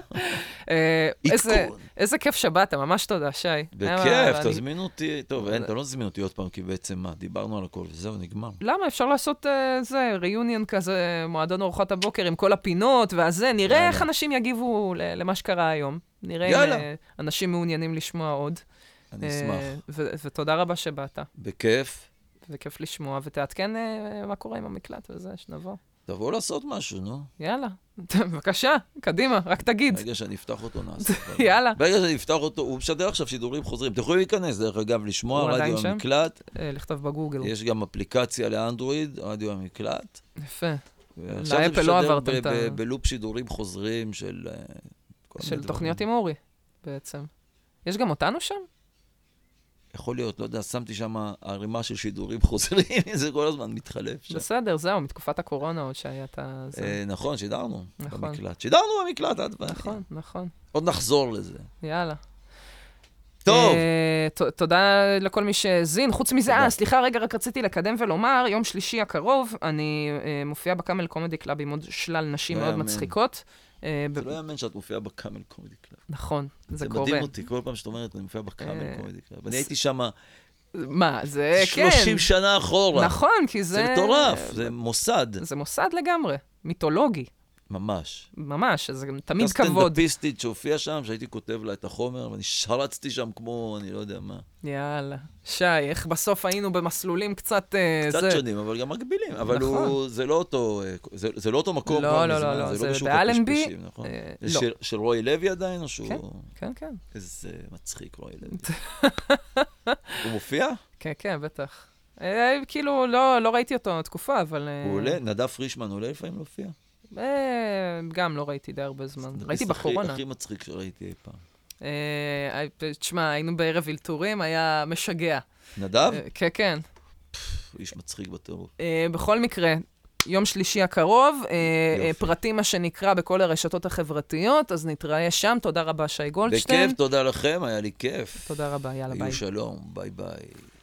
S1: אה, איזה,
S2: עדכון.
S1: איזה כיף שבאת, ממש תודה, שי. היה-
S2: בכיף,
S1: אני- אה,
S2: תזמינו אותי. טוב, אין, אתם לא תזמינו אותי עוד פעם, כי בעצם מה, דיברנו על הכל, וזהו, נגמר.
S1: למה? אפשר לעשות אה, זה, ריאיוניון כזה, מועדון ארוחת הבוקר עם כל הפינות, ואז זה, נראה
S2: יאללה.
S1: איך אנשים יגיבו ל- למה שקרה היום. נראה אם
S2: יאללה.
S1: אה, אנשים מעוניינים לשמוע עוד.
S2: אני
S1: אה,
S2: אשמח.
S1: ו- ותודה רבה שבאת,
S2: בכיף,
S1: וכיף לשמוע, ותעדכן אה, מה קורה עם המקלט וזה, שנבוא.
S2: תבואו לעשות משהו, נו.
S1: יאללה, (laughs) בבקשה, קדימה, רק תגיד.
S2: ברגע שאני אפתח אותו,
S1: (laughs)
S2: נעשה.
S1: יאללה.
S2: ברגע שאני אפתח אותו, הוא משדר עכשיו שידורים חוזרים. אתם יכולים להיכנס, דרך אגב,
S1: הוא
S2: לשמוע
S1: עדיין
S2: רדיו
S1: שם?
S2: המקלט.
S1: אה, לכתוב בגוגל,
S2: יש גם אפליקציה לאנדרואיד, רדיו המקלט.
S1: יפה,
S2: ועכשיו
S1: לאפל
S2: זה
S1: לא
S2: משדר
S1: עברתם
S2: ב-
S1: את ה-
S2: ב- בלופ שידורים חוזרים של... אה, כל מיני
S1: של
S2: דברים.
S1: תוכניות עם אורי, בעצם. יש גם אותנו שם?
S2: יכול להיות, לא יודע, שמתי שם ערימה של שידורים (laughs) חוזרים, זה כל הזמן מתחלף שם.
S1: בסדר, זהו, מתקופת הקורונה עוד שהיה את ה... זה.
S2: אה, נכון, שידרנו
S1: נכון.
S2: במקלט. שידרנו במקלט, עד ואני.
S1: נכון, נכון,
S2: עוד נחזור לזה.
S1: יאללה.
S2: טוב,
S1: אה, ת- תודה לכל מי שהאזין. חוץ מזה, אה, סליחה, רגע, רק רציתי לקדם ולומר, יום שלישי הקרוב, אני אה, מופיעה בקאמל קומדי קלאב עם עוד שלל נשים
S2: לא
S1: מאוד
S2: יאמן.
S1: מצחיקות. אה, ב-
S2: זה לא יאמן שאת מופיעה בקאמל קומדי קלאב.
S1: נכון,
S2: זה
S1: זה קורה.
S2: מדהים אותי, כל פעם שאת אומרת, אני מופיעה
S1: אה,
S2: בקאמל קומדי קלאב. אני הייתי שם
S1: מה, זה כן.
S2: 30 שנה אחורה.
S1: נכון, כי זה...
S2: זה מטורף, זה מוסד,
S1: זה מוסד לגמרי, מיתולוגי, ממש,
S2: ממש.
S1: ממש, אז זה גם תמיד
S2: הייתה
S1: כבוד.
S2: סטנדאפיסטית שהופיעה שם, שהייתי כותב לה את החומר, ואני שרצתי שם כמו, אני לא יודע מה.
S1: יאללה. שי, איך בסוף היינו במסלולים קצת... אה,
S2: קצת
S1: זה...
S2: שונים, אבל גם מקבילים. אבל
S1: נכון.
S2: הוא- זה לא אותו, אה, זה- זה לא אותו מקום
S1: לא,
S2: כבר
S1: לא, לא,
S2: מזמן,
S1: לא, זה
S2: זה לא בשוק
S1: באלנבי,
S2: הפשפשים, נכון?
S1: אה,
S2: זה
S1: לא.
S2: של- של רוי לוי עדיין, או שהוא...
S1: כן. כן, כן,
S2: איזה מצחיק רוי
S1: (laughs)
S2: לוי. הוא מופיע?
S1: כן, כן, בטח. אה, כאילו, לא, לא ראיתי אותו תקופה, אבל... אה,
S2: הוא עולה? נדב פרישמן עולה לפעמים להופיע?
S1: אה, גם לא ראיתי די הרבה זמן. ראיתי
S2: הכי-
S1: בקורונה.
S2: הכי מצחיק שראיתי אי פעם.
S1: אה, אה, תשמע, היינו בערב אלתורים, היה משגע.
S2: נדב?
S1: אה, כן, כן.
S2: הוא איש מצחיק בטירוף.
S1: אה, בכל מקרה, יום שלישי הקרוב, אה, אה,
S2: יופי.
S1: פרטים מה שנקרא בכל הרשתות החברתיות, אז נתראה שם. תודה רבה, שי גולדשטיין.
S2: בכיף, תודה לכם, היה לי כיף.
S1: תודה רבה, יאללה, ביי.
S2: יהיו שלום, ביי ביי.